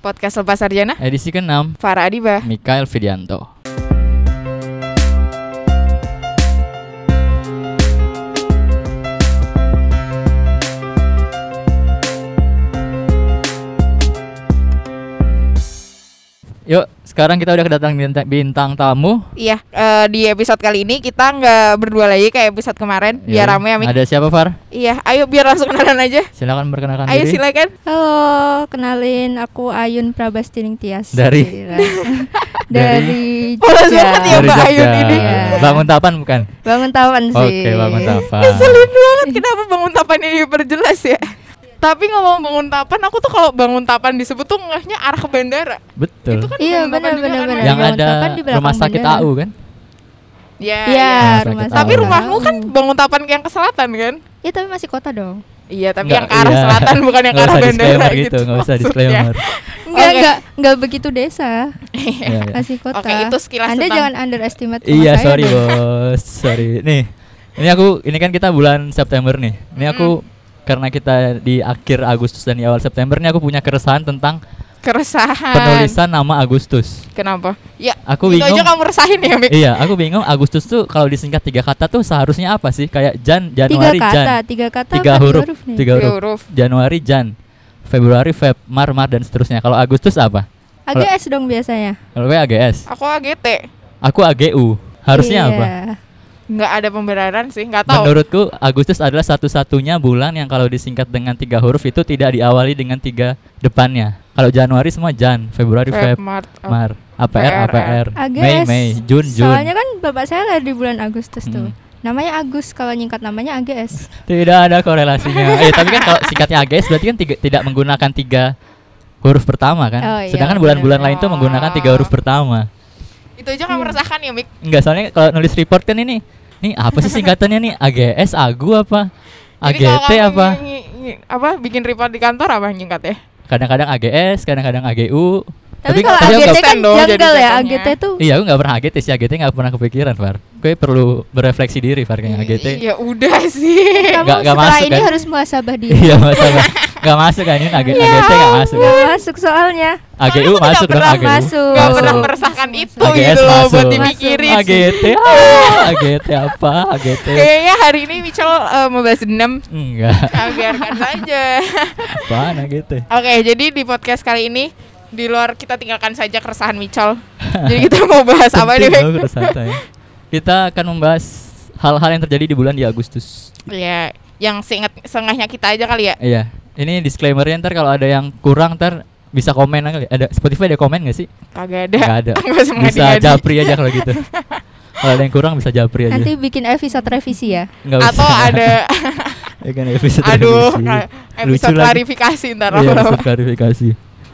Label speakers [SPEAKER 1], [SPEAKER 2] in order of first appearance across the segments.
[SPEAKER 1] Podcast Lepas Sarjana,
[SPEAKER 2] Edisi ke-6,
[SPEAKER 1] Farah Adiba.
[SPEAKER 2] Mikael Fidianto. Yuk, sekarang kita udah kedatangan bintang, bintang tamu.
[SPEAKER 1] Iya, eh, di episode kali ini kita nggak berdua lagi kayak episode kemarin, biar
[SPEAKER 2] Yoi.
[SPEAKER 1] rame ya, Mik.
[SPEAKER 2] Ada siapa, Far?
[SPEAKER 1] Iya, ayo biar langsung kenalan aja.
[SPEAKER 2] Silakan perkenalkan
[SPEAKER 1] Ayo
[SPEAKER 2] diri.
[SPEAKER 1] silakan.
[SPEAKER 3] Halo, kenalin aku Ayun Prabastining Tias.
[SPEAKER 2] Dari?
[SPEAKER 3] Gila.
[SPEAKER 2] Dari?
[SPEAKER 3] dari
[SPEAKER 1] Polos
[SPEAKER 3] Jogja.
[SPEAKER 1] banget ya,
[SPEAKER 2] Dari
[SPEAKER 1] Mbak Ayu
[SPEAKER 2] Jogja.
[SPEAKER 1] ini.
[SPEAKER 3] Iya.
[SPEAKER 2] Bangun tapan bukan?
[SPEAKER 3] Bangun Tapan sih.
[SPEAKER 2] Oke, bangun tapan.
[SPEAKER 1] Ngeselin banget kenapa bangun tapan ini diperjelas ya. Tapi ngomong bangun tapan, aku tuh kalau bangun tapan disebut tuh ngehnya arah ke bandara.
[SPEAKER 2] Betul.
[SPEAKER 1] Itu kan
[SPEAKER 3] Iya,
[SPEAKER 1] bangun tapan juga kan,
[SPEAKER 3] benar-benar, benar.
[SPEAKER 1] Mbak?
[SPEAKER 2] Yang
[SPEAKER 3] Bangun
[SPEAKER 2] ada
[SPEAKER 3] tapan di belakang
[SPEAKER 2] rumah sakit
[SPEAKER 3] bandara.
[SPEAKER 2] AU kan?
[SPEAKER 1] Iya.
[SPEAKER 3] Iya,
[SPEAKER 2] Rumah
[SPEAKER 3] rumah
[SPEAKER 2] sakit
[SPEAKER 1] Tapi
[SPEAKER 2] Tahu.
[SPEAKER 1] rumahmu kan bangun tapan yang ke selatan kan?
[SPEAKER 3] Iya, tapi masih kota dong.
[SPEAKER 1] Iya, tapi
[SPEAKER 2] Nggak,
[SPEAKER 1] yang ke arah
[SPEAKER 2] iya.
[SPEAKER 1] selatan bukan yang ke
[SPEAKER 2] Nggak
[SPEAKER 1] arah
[SPEAKER 2] usah
[SPEAKER 1] bandara
[SPEAKER 2] disclaimer gitu, nggak usah
[SPEAKER 1] maksudnya.
[SPEAKER 2] disclaimer.
[SPEAKER 3] Enggak,
[SPEAKER 1] Oke.
[SPEAKER 3] enggak, enggak begitu desa.
[SPEAKER 2] Iya, iya.
[SPEAKER 3] Masih kota.
[SPEAKER 1] Oke, itu sekilas
[SPEAKER 3] Anda
[SPEAKER 1] tentang-
[SPEAKER 3] jangan underestimate rumah
[SPEAKER 2] Iya,
[SPEAKER 3] saya
[SPEAKER 2] sorry
[SPEAKER 3] dong.
[SPEAKER 2] bos, sorry. Nih, ini aku, ini kan kita bulan September nih. Ini aku karena kita di akhir Agustus dan di awal September ini aku punya keresahan tentang
[SPEAKER 1] Keresahan.
[SPEAKER 2] penulisan nama Agustus.
[SPEAKER 1] Kenapa? Ya,
[SPEAKER 2] Aku
[SPEAKER 1] Ah. itu aja
[SPEAKER 2] bingung.
[SPEAKER 1] kamu resahin ya, Mik.
[SPEAKER 2] Iya, aku bingung Agustus tuh kalau disingkat tiga kata tuh seharusnya apa sih? Kayak Jan,
[SPEAKER 3] Tiga
[SPEAKER 2] Januari,
[SPEAKER 3] kata,
[SPEAKER 2] Jan.
[SPEAKER 3] tiga kata.
[SPEAKER 2] Tiga
[SPEAKER 3] apa
[SPEAKER 2] huruf,
[SPEAKER 3] nih?
[SPEAKER 2] tiga
[SPEAKER 1] Tiga
[SPEAKER 2] huruf.
[SPEAKER 1] huruf.
[SPEAKER 2] Januari, Jan. Februari, Feb, Mar, Mar dan seterusnya. Kalau Agustus apa?
[SPEAKER 3] AGS dong biasanya.
[SPEAKER 2] Kalau gue AGS.
[SPEAKER 1] Aku AGT.
[SPEAKER 2] Aku AGU. Harusnya
[SPEAKER 3] Iya.
[SPEAKER 2] apa?
[SPEAKER 1] Nggak ada pembenaran sih, nggak tahu.
[SPEAKER 2] Menurutku Agustus adalah satu-satunya bulan yang kalau disingkat dengan tiga huruf itu tidak diawali dengan tiga depannya. Kalau Januari semua Jan, Februari
[SPEAKER 1] Feb,
[SPEAKER 2] Feb,
[SPEAKER 1] Mart, Oh. Ap-
[SPEAKER 2] Mar, APR,
[SPEAKER 1] PR.
[SPEAKER 2] APR,
[SPEAKER 3] AGS.
[SPEAKER 2] Mei, Mei, Jun, Jun.
[SPEAKER 3] Soalnya kan bapak saya lahir di bulan Agustus tuh.
[SPEAKER 2] Hmm.
[SPEAKER 3] Namanya Agus kalau nyingkat namanya AGS.
[SPEAKER 2] Tidak ada korelasinya. eh, tapi kan kalau singkatnya AGS berarti kan tiga- tidak menggunakan tiga huruf pertama kan.
[SPEAKER 3] Oh, iya,
[SPEAKER 2] Sedangkan bulan-bulan lain
[SPEAKER 1] benar.
[SPEAKER 2] tuh menggunakan tiga huruf pertama.
[SPEAKER 1] Itu aja kamu rasakan ya, Mik.
[SPEAKER 2] Enggak, soalnya kalau nulis report kan ini, nih apa sih singkatannya nih? AGS, AGU apa?
[SPEAKER 1] Jadi kalau
[SPEAKER 2] AGT
[SPEAKER 1] kamu
[SPEAKER 2] apa?
[SPEAKER 1] nyi- nyi- apa bikin report di kantor apa nyingkat ya?
[SPEAKER 2] kadang-kadang AGS, kadang-kadang AGU.
[SPEAKER 3] Tapi kalau
[SPEAKER 2] aku
[SPEAKER 3] AGT
[SPEAKER 2] nggak-
[SPEAKER 3] kan
[SPEAKER 1] stand dong jadi
[SPEAKER 3] janggal ya,
[SPEAKER 1] jatuhnya.
[SPEAKER 3] AGT tuh
[SPEAKER 2] Iya, aku nggak pernah AGT sih. AGT nggak pernah kepikiran, Far. Gue perlu berefleksi diri, Far, kayaknya AGT.
[SPEAKER 1] Ya udah sih.
[SPEAKER 3] Kamu
[SPEAKER 2] Nggak- nggak
[SPEAKER 3] setelah
[SPEAKER 2] masuk
[SPEAKER 3] ini
[SPEAKER 2] kan?
[SPEAKER 3] harus muasabah diri.
[SPEAKER 2] Iya, masalah. Gak masuk kan, ini AG, AGT gak masuk kan?
[SPEAKER 3] Nggak masuk soalnya.
[SPEAKER 1] Iya.
[SPEAKER 2] AGU
[SPEAKER 1] aku nggak
[SPEAKER 2] masuk dong,
[SPEAKER 1] pernah
[SPEAKER 2] AGU.
[SPEAKER 3] masuk.
[SPEAKER 1] Gak
[SPEAKER 3] Masuk.
[SPEAKER 1] pernah merasakan itu
[SPEAKER 2] AGS
[SPEAKER 1] gitu loh buat
[SPEAKER 2] masuk.
[SPEAKER 1] dipikirin.
[SPEAKER 2] AGT, ah, AGT apa? AGT.
[SPEAKER 1] Kayaknya hari ini Michel eh, mau bahas dendam.
[SPEAKER 2] Enggak,
[SPEAKER 1] Nah, biarkan saja.
[SPEAKER 2] apaan AGT?
[SPEAKER 1] Oke, jadi di podcast kali ini di luar kita tinggalkan saja keresahan Michol. jadi kita mau bahas apa nih? Bek?
[SPEAKER 2] Penting banget keresahan saya. Kita akan membahas hal-hal yang terjadi di bulan di Agustus.
[SPEAKER 1] ya, yang seingat setengahnya kita aja kali ya.
[SPEAKER 2] Iya, ini disclaimer-nya ntar kalau ada yang kurang ntar bisa komen kali. Ada Spotify ada komen gak sih?
[SPEAKER 1] Kagak
[SPEAKER 2] Nggak
[SPEAKER 1] ada.
[SPEAKER 2] ada.
[SPEAKER 1] Nggak usah
[SPEAKER 2] bisa
[SPEAKER 1] mengadu-ngadu.
[SPEAKER 2] japri aja kalau gitu. kalau ada yang kurang bisa japri aja.
[SPEAKER 3] Nanti bikin episode revisi ya.
[SPEAKER 2] Nggak
[SPEAKER 1] Atau
[SPEAKER 2] usah.
[SPEAKER 1] ada
[SPEAKER 2] ya kan episode
[SPEAKER 1] aduh
[SPEAKER 2] revisi.
[SPEAKER 1] ka-
[SPEAKER 2] Lucu
[SPEAKER 1] episode
[SPEAKER 2] lagi.
[SPEAKER 1] klarifikasi ntar.
[SPEAKER 2] Iya, episode klarifikasi.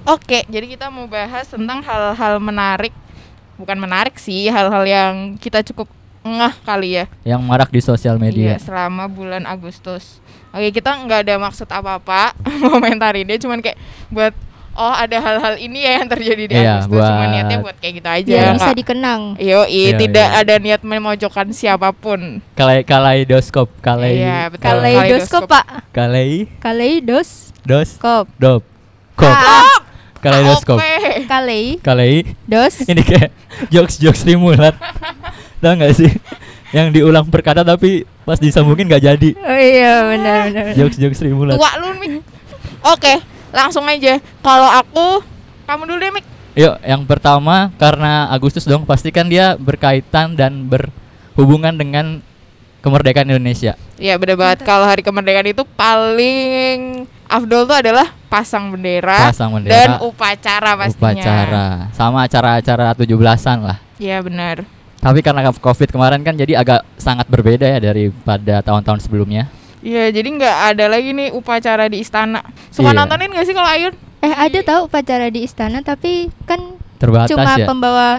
[SPEAKER 1] Oke, jadi kita mau bahas tentang hal-hal menarik. Bukan menarik sih, hal-hal yang kita cukup ngeh kali ya.
[SPEAKER 2] Yang marak di sosial media.
[SPEAKER 1] Iya, selama bulan Agustus. Oke, kita nggak ada maksud apa-apa komentari dia cuman kayak buat oh ada hal-hal ini ya yang terjadi di
[SPEAKER 2] Iya,
[SPEAKER 1] Agustus, cuman
[SPEAKER 2] buat-
[SPEAKER 1] niatnya buat kayak gitu aja.
[SPEAKER 3] Biar
[SPEAKER 2] Iya.
[SPEAKER 3] bisa
[SPEAKER 1] nggak-
[SPEAKER 3] dikenang.
[SPEAKER 1] Yoi,
[SPEAKER 2] Iya,
[SPEAKER 1] tidak
[SPEAKER 2] iya.
[SPEAKER 1] ada niat memojokkan siapapun.
[SPEAKER 2] Kalai kaleidoskop, kalai
[SPEAKER 1] Iya, betul.
[SPEAKER 2] kalai
[SPEAKER 3] Kaleidoskop, Pak.
[SPEAKER 2] kalai
[SPEAKER 3] Kaleidoskop. Ah,
[SPEAKER 2] dos dop kop kaleidoskop
[SPEAKER 1] Oke.
[SPEAKER 3] Kalei.
[SPEAKER 2] kalai
[SPEAKER 3] Dos.
[SPEAKER 2] ini kayak jokes jokes Rimulat tau nggak sih yang diulang perkata tapi pas disambungin nggak jadi
[SPEAKER 3] Oh iya, benar benar. benar.
[SPEAKER 2] jokes jokes Rimulat
[SPEAKER 1] Tua lu Mik. Oke, langsung aja. Kalau aku kamu dulu deh, Mik.
[SPEAKER 2] Yuk, yang pertama karena Agustus dong, pastikan dia berkaitan dan berhubungan dengan kemerdekaan Indonesia.
[SPEAKER 1] Ya bener banget kalau hari kemerdekaan itu paling afdol tuh adalah pasang bendera,
[SPEAKER 2] Pasang
[SPEAKER 1] dan
[SPEAKER 2] bendera,
[SPEAKER 1] upacara pastinya.
[SPEAKER 2] upacara, sama acara-acara 17-an lah.
[SPEAKER 1] Iya benar.
[SPEAKER 2] Tapi karena Covid kemarin kan jadi agak sangat berbeda ya daripada tahun-tahun sebelumnya.
[SPEAKER 1] Iya, jadi nggak ada lagi nih upacara di istana. Suka
[SPEAKER 2] Iya.
[SPEAKER 1] nontonin nggak sih kalau Ayun?
[SPEAKER 3] Eh, ada tahu upacara di istana tapi kan
[SPEAKER 2] Terbatas
[SPEAKER 3] cuma
[SPEAKER 2] ya.
[SPEAKER 3] pembawa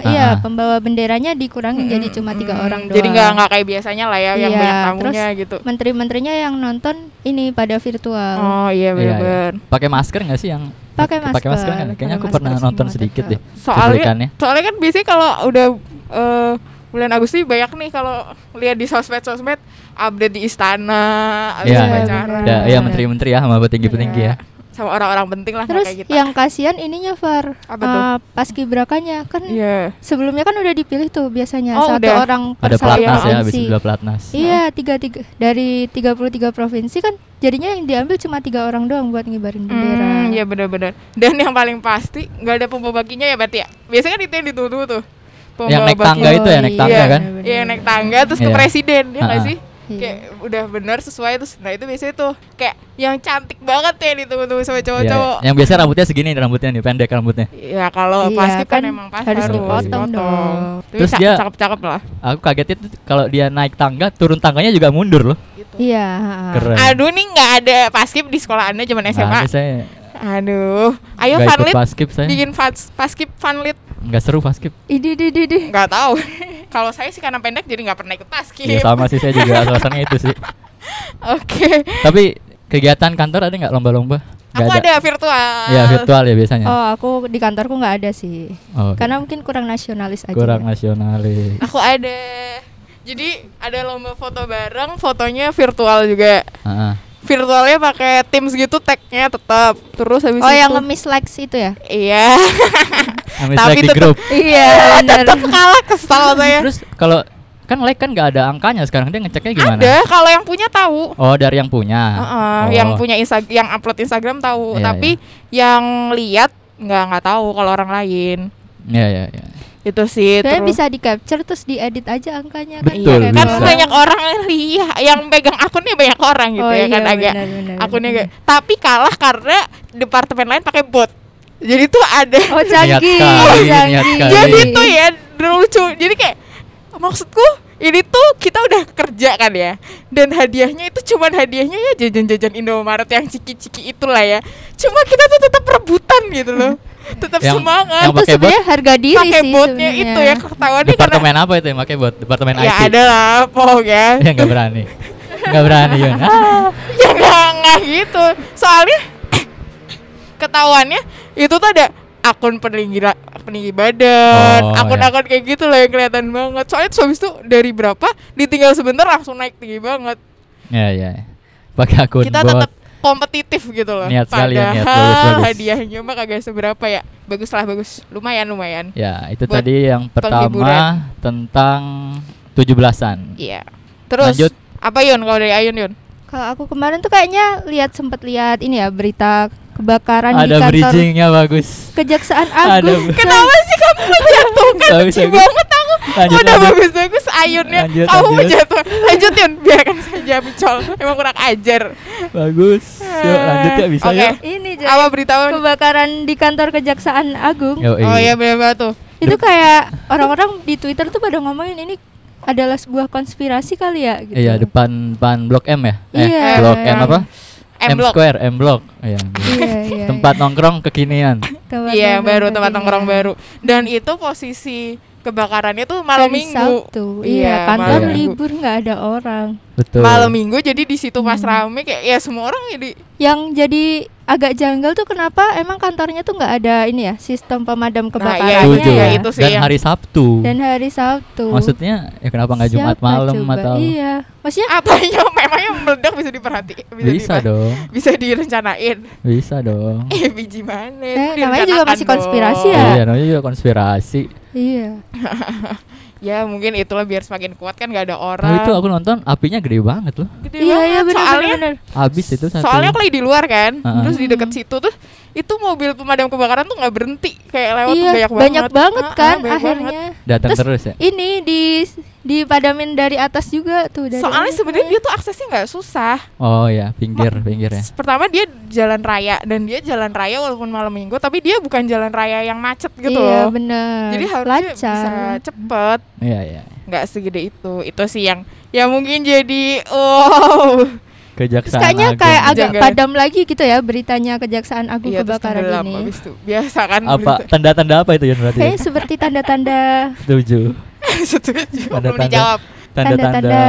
[SPEAKER 2] Ah,
[SPEAKER 3] iya,
[SPEAKER 2] ah.
[SPEAKER 3] pembawa benderanya dikurangin jadi cuma tiga orang doang.
[SPEAKER 1] Jadi nggak nggak kayak biasanya lah ya yang
[SPEAKER 3] Iya,
[SPEAKER 1] banyak tamunya
[SPEAKER 3] terus
[SPEAKER 1] gitu.
[SPEAKER 3] Menteri-menterinya yang nonton ini pada virtual.
[SPEAKER 1] Oh iya
[SPEAKER 2] Iya, iya.
[SPEAKER 1] benar.
[SPEAKER 2] Pakai masker nggak sih yang
[SPEAKER 3] Pakai
[SPEAKER 2] Pakai masker
[SPEAKER 3] masker,
[SPEAKER 2] nggak? Kayaknya
[SPEAKER 3] pakai
[SPEAKER 2] aku
[SPEAKER 3] masker
[SPEAKER 2] pernah nonton
[SPEAKER 3] semua
[SPEAKER 2] sedikit
[SPEAKER 3] tetap.
[SPEAKER 2] deh. cuplikannya.
[SPEAKER 1] Soalnya soalnya kan biasanya kalau udah eh, bulan Agustus ini banyak nih kalau lihat di sosmed-sosmed update di istana, habis
[SPEAKER 2] Iya,
[SPEAKER 1] upacara.
[SPEAKER 3] benar.
[SPEAKER 2] Da- ya menteri-menteri ya sama petinggi-petinggi ya.
[SPEAKER 1] sama orang-orang penting lah nggak
[SPEAKER 3] Terus
[SPEAKER 1] kayak gitu. kita.
[SPEAKER 3] yang kasihan ininya Far eh,
[SPEAKER 1] Apa tuh?
[SPEAKER 3] pas kibrakanya kan
[SPEAKER 1] Iya.
[SPEAKER 3] sebelumnya kan udah dipilih tuh biasanya
[SPEAKER 1] Oh,
[SPEAKER 3] satu
[SPEAKER 1] udah.
[SPEAKER 3] orang per
[SPEAKER 2] Ada pelatnas ya,
[SPEAKER 3] provinsi.
[SPEAKER 2] habis itu dua pelatnas.
[SPEAKER 3] Iya tiga tiga dari 33 provinsi kan jadinya yang diambil cuma tiga orang doang buat ngibarin bendera.
[SPEAKER 1] Hmm, ya benar-benar. Dan yang paling pasti nggak ada pembawa bakinya ya berarti ya. Biasanya kan itu yang ditunggu tuh. Pembawa
[SPEAKER 2] Yang naik
[SPEAKER 1] baki.
[SPEAKER 2] tangga itu ya, naik
[SPEAKER 1] Iya,
[SPEAKER 2] tangga kan?
[SPEAKER 1] Iya yang naik tangga terus ke
[SPEAKER 2] Iya.
[SPEAKER 1] presiden ya nggak
[SPEAKER 2] Ha-ha.
[SPEAKER 1] sih?
[SPEAKER 3] Iya.
[SPEAKER 1] Kayak udah benar sesuai terus nah itu biasanya tuh kayak yang cantik banget ya yang ditunggu-tunggu sama
[SPEAKER 2] Iya,
[SPEAKER 1] cowok-cowok.
[SPEAKER 2] Yang biasa rambutnya segini rambutnya nih, pendek rambutnya.
[SPEAKER 1] Ya kalau
[SPEAKER 3] Iya,
[SPEAKER 1] pasti kan,
[SPEAKER 3] kan
[SPEAKER 1] emang pas
[SPEAKER 3] harus
[SPEAKER 2] dipotong
[SPEAKER 3] dong.
[SPEAKER 1] Tapi
[SPEAKER 2] Terus
[SPEAKER 1] ca-
[SPEAKER 2] dia-
[SPEAKER 1] cakep-cakep lah.
[SPEAKER 2] Aku kagetnya tuh kalau dia naik tangga, turun tangganya juga mundur loh.
[SPEAKER 3] Iya.
[SPEAKER 2] Keren.
[SPEAKER 1] Ah. Aduh nih nggak ada paskib di sekolah Anda cuman SMA.
[SPEAKER 2] Nah, ini saya
[SPEAKER 1] Aduh. Ayo
[SPEAKER 2] nggak ikut
[SPEAKER 1] Fanlit
[SPEAKER 2] paskib saya.
[SPEAKER 1] bikin fas- paskib Fanlit.
[SPEAKER 2] Nggak seru paskib.
[SPEAKER 3] Idi di di di.
[SPEAKER 1] Nggak tahu. Kalau saya sih karena pendek jadi nggak pernah ikut paskib.
[SPEAKER 2] Iya sama sih saya juga alasannya itu sih.
[SPEAKER 1] Oke.
[SPEAKER 2] Tapi kegiatan kantor ada nggak lomba-lomba? Nggak
[SPEAKER 1] Aku ada virtual.
[SPEAKER 2] Ya virtual ya biasanya.
[SPEAKER 3] Oh aku di kantorku nggak ada sih.
[SPEAKER 2] Oh,
[SPEAKER 3] Karena mungkin kurang nasionalis aja.
[SPEAKER 2] kurang nasionalis.
[SPEAKER 1] Aku ada. Jadi ada lomba foto bareng, fotonya virtual juga.
[SPEAKER 2] Ah, ah.
[SPEAKER 1] Virtualnya pakai Teams gitu tag-nya tetap. Terus habis
[SPEAKER 3] Oh yang
[SPEAKER 1] itu-
[SPEAKER 3] ngemis likes itu ya?
[SPEAKER 1] Iya.
[SPEAKER 2] Amis
[SPEAKER 1] Tapi
[SPEAKER 2] like di
[SPEAKER 1] tetep- ya.
[SPEAKER 2] grup.
[SPEAKER 3] Iya benar.
[SPEAKER 1] tetap kalah kesal saya.
[SPEAKER 2] Terus kalau kan like kan nggak ada angkanya sekarang dia ngeceknya gimana?
[SPEAKER 1] Ada kalau yang punya tahu.
[SPEAKER 2] Oh dari yang punya.
[SPEAKER 1] Heeh,
[SPEAKER 2] Oh.
[SPEAKER 1] yang punya Insta- yang upload Instagram tahu,
[SPEAKER 2] Iya,
[SPEAKER 1] tapi yang lihat nggak nggak tahu kalau orang lain.
[SPEAKER 2] Iya iya. iya.
[SPEAKER 1] Itu sih.
[SPEAKER 3] Saya
[SPEAKER 1] terus-
[SPEAKER 3] bisa di capture terus diedit aja angkanya kan.
[SPEAKER 2] Betul,
[SPEAKER 3] Kayak
[SPEAKER 1] kan
[SPEAKER 2] bisa.
[SPEAKER 3] orang-
[SPEAKER 1] banyak orang yang lihat, yang pegang akunnya banyak orang gitu
[SPEAKER 3] Oh,
[SPEAKER 1] ya kan
[SPEAKER 3] iya,
[SPEAKER 1] agak
[SPEAKER 3] benar, benar,
[SPEAKER 1] akunnya
[SPEAKER 3] benar.
[SPEAKER 1] agak. Tapi kalah karena departemen lain pakai bot. Jadi tuh ada.
[SPEAKER 3] Oh
[SPEAKER 2] Niat
[SPEAKER 3] canggih,
[SPEAKER 2] sekali, niat
[SPEAKER 3] canggih.
[SPEAKER 2] sekali.
[SPEAKER 1] Jadi tuh ya lucu. Jadi kayak maksudku ini tuh kita udah kerja kan ya. Dan hadiahnya itu cuman hadiahnya ya jajan-jajan Indomaret yang ciki-ciki itulah ya. Cuma kita tuh tetap rebutan gitu loh. Tetap
[SPEAKER 2] Yang-
[SPEAKER 1] semangat.
[SPEAKER 2] yang
[SPEAKER 3] itu
[SPEAKER 2] pakai bot?
[SPEAKER 3] sebenarnya harga diri
[SPEAKER 1] Pakai
[SPEAKER 3] sih
[SPEAKER 1] botnya
[SPEAKER 3] sebenarnya.
[SPEAKER 1] itu ya ketahuannya karena
[SPEAKER 2] Departemen apa itu yang pakai buat departemen
[SPEAKER 1] ya kan?"
[SPEAKER 2] IT?
[SPEAKER 1] ada lah pokoknya.
[SPEAKER 2] Ya nggak berani. Nggak berani Yun. Ah,
[SPEAKER 1] ya nggak nggak gitu soalnya ketahuannya itu tuh ada akun peninggi ra- peninggi badan
[SPEAKER 2] Oh,
[SPEAKER 1] akun-akun kayak gitu loh yang kelihatan banget soalnya terus habis itu dari berapa ditinggal sebentar langsung naik tinggi banget
[SPEAKER 2] Ya ya. ya. Pakai akun
[SPEAKER 1] kita
[SPEAKER 2] bot.
[SPEAKER 1] tetap kompetitif gitu loh
[SPEAKER 2] Niat sekali
[SPEAKER 1] padahal
[SPEAKER 2] ya, niat. Bagus, bagus.
[SPEAKER 1] hadiahnya mah kagak seberapa ya bagus lah bagus lumayan lumayan
[SPEAKER 2] Ya, itu
[SPEAKER 1] buat
[SPEAKER 2] tadi yang pertama
[SPEAKER 1] penghiburan.
[SPEAKER 2] tentang 17-an.
[SPEAKER 1] iya terus
[SPEAKER 2] Lanjut.
[SPEAKER 1] apa Yun kalau dari Ayun Yun
[SPEAKER 3] Kalau aku kemarin tuh kayaknya lihat sempat lihat ini ya berita kebakaran di
[SPEAKER 2] Ada
[SPEAKER 3] kantor
[SPEAKER 2] bridgingnya bagus.
[SPEAKER 3] Kejaksaan
[SPEAKER 2] Ada
[SPEAKER 3] Agung.
[SPEAKER 2] ber-
[SPEAKER 1] Kenapa sih kamu menjatuhkan?
[SPEAKER 2] Bagus,
[SPEAKER 1] Benci
[SPEAKER 2] bagus.
[SPEAKER 1] banget aku.
[SPEAKER 2] Lanjut,
[SPEAKER 1] Udah
[SPEAKER 2] lanjut.
[SPEAKER 1] bagus-bagus ayunnya.
[SPEAKER 2] Lanjut,
[SPEAKER 1] kamu
[SPEAKER 2] lanjut.
[SPEAKER 1] menjatuhkan. Lanjutin, biarkan saja bicol. Emang kurang ajar.
[SPEAKER 2] Bagus. Yuk lanjut ya bisa
[SPEAKER 1] Eh, Oke.
[SPEAKER 2] yuk.
[SPEAKER 3] Ini jadi
[SPEAKER 1] Apa berita? apa?
[SPEAKER 3] kebakaran di kantor Kejaksaan Agung.
[SPEAKER 2] Yoi.
[SPEAKER 1] Oh iya benar tuh.
[SPEAKER 3] Itu kayak orang-orang di Twitter tuh pada ngomongin ini adalah sebuah konspirasi kali ya gitu.
[SPEAKER 2] Iya, depan depan Blok M ya?
[SPEAKER 3] Iya.
[SPEAKER 2] Eh, Blok M
[SPEAKER 1] Yang
[SPEAKER 2] apa?
[SPEAKER 1] M Block.
[SPEAKER 2] Square, M Block. Iya.
[SPEAKER 3] Iya, iya,
[SPEAKER 2] Tempat nongkrong kekinian.
[SPEAKER 3] Tempat
[SPEAKER 1] Iya,
[SPEAKER 3] nongkrong
[SPEAKER 1] baru tempat
[SPEAKER 3] kekinian.
[SPEAKER 1] nongkrong baru. Dan itu posisi kebakarannya tuh malam
[SPEAKER 3] Hari
[SPEAKER 1] minggu.
[SPEAKER 3] Sabtu. Iya, kantor
[SPEAKER 2] malam minggu.
[SPEAKER 3] libur nggak ada orang.
[SPEAKER 2] Betul.
[SPEAKER 1] Malam minggu jadi di situ pas
[SPEAKER 3] Hmm.
[SPEAKER 1] rame kayak ya semua orang jadi
[SPEAKER 3] Yang jadi agak janggal tuh kenapa emang kantornya tuh nggak ada ini ya sistem pemadam
[SPEAKER 1] iya,
[SPEAKER 3] kebakarannya
[SPEAKER 2] Setuju.
[SPEAKER 1] iya,
[SPEAKER 3] ya.
[SPEAKER 1] itu sih
[SPEAKER 2] Dan
[SPEAKER 1] yang-
[SPEAKER 2] hari Sabtu.
[SPEAKER 3] Dan hari Sabtu.
[SPEAKER 2] Maksudnya ya kenapa nggak Jumat
[SPEAKER 3] Gitu. Siapa
[SPEAKER 2] malam
[SPEAKER 3] coba?
[SPEAKER 2] atau
[SPEAKER 3] Iya.
[SPEAKER 1] Ah,
[SPEAKER 3] Maksudnya
[SPEAKER 1] apanya memangnya meledak bisa diperhatikan bisa,
[SPEAKER 2] bisa
[SPEAKER 1] dipa-
[SPEAKER 2] dong,
[SPEAKER 1] bisa direncanain.
[SPEAKER 2] bisa dong.
[SPEAKER 1] Eh biji mana? itu
[SPEAKER 3] Eh, namanya juga
[SPEAKER 1] direncanakan
[SPEAKER 3] masih konspirasi
[SPEAKER 1] dong.
[SPEAKER 3] ya.
[SPEAKER 2] Iya, namanya juga konspirasi.
[SPEAKER 3] iya.
[SPEAKER 1] Ya mungkin itulah biar semakin kuat kan gak ada
[SPEAKER 2] Tahu
[SPEAKER 1] orang.
[SPEAKER 2] Oh, itu aku nonton apinya gede banget loh.
[SPEAKER 1] Gede
[SPEAKER 3] Iya,
[SPEAKER 1] banget.
[SPEAKER 3] iya benar
[SPEAKER 1] soalnya,
[SPEAKER 3] benar.
[SPEAKER 2] Habis itu satu.
[SPEAKER 1] soalnya aku lagi di luar kan,
[SPEAKER 2] Heeh.
[SPEAKER 1] terus di dekat situ tuh itu mobil pemadam kebakaran tuh nggak berhenti kayak lewat tuh
[SPEAKER 3] Iya,
[SPEAKER 1] banyak banget.
[SPEAKER 3] banyak banget
[SPEAKER 1] Heeh,
[SPEAKER 3] kan
[SPEAKER 1] banyak
[SPEAKER 3] akhirnya.
[SPEAKER 2] datang
[SPEAKER 3] Terus-
[SPEAKER 2] terus ya.
[SPEAKER 3] Ini di dipadamin dari atas juga tuh dari
[SPEAKER 1] banget. Soalnya
[SPEAKER 3] atas.
[SPEAKER 1] sebenarnya dia tuh aksesnya nggak susah.
[SPEAKER 2] Oh ya, pinggir, pinggir ya.
[SPEAKER 1] Pertama dia jalan raya dan dia jalan raya walaupun malam minggu tapi dia bukan jalan raya yang macet gitu
[SPEAKER 3] Iya,
[SPEAKER 1] loh.
[SPEAKER 3] bener.
[SPEAKER 1] Jadi harusnya bisa cepet
[SPEAKER 2] Iya, iya.
[SPEAKER 1] nggak segede itu. Itu sih yang ya mungkin jadi wow.
[SPEAKER 3] Terus
[SPEAKER 2] Kejaksaan
[SPEAKER 3] kayaknya
[SPEAKER 2] Agung.
[SPEAKER 3] kayak agak
[SPEAKER 1] Jangan.
[SPEAKER 3] padam lagi gitu ya beritanya Kejaksaan Agung
[SPEAKER 1] Iya terus
[SPEAKER 3] kebakaran
[SPEAKER 1] tenggelam
[SPEAKER 3] ini.
[SPEAKER 1] habis itu. Biasa kan
[SPEAKER 2] apa
[SPEAKER 1] berita-
[SPEAKER 2] tanda-tanda apa itu Yun berarti? ya?
[SPEAKER 3] Kayaknya seperti tanda-tanda
[SPEAKER 2] Setuju.
[SPEAKER 1] Setuju.
[SPEAKER 2] Ada
[SPEAKER 1] Belum
[SPEAKER 2] tanda.
[SPEAKER 1] dijawab.
[SPEAKER 2] Tanda-tanda.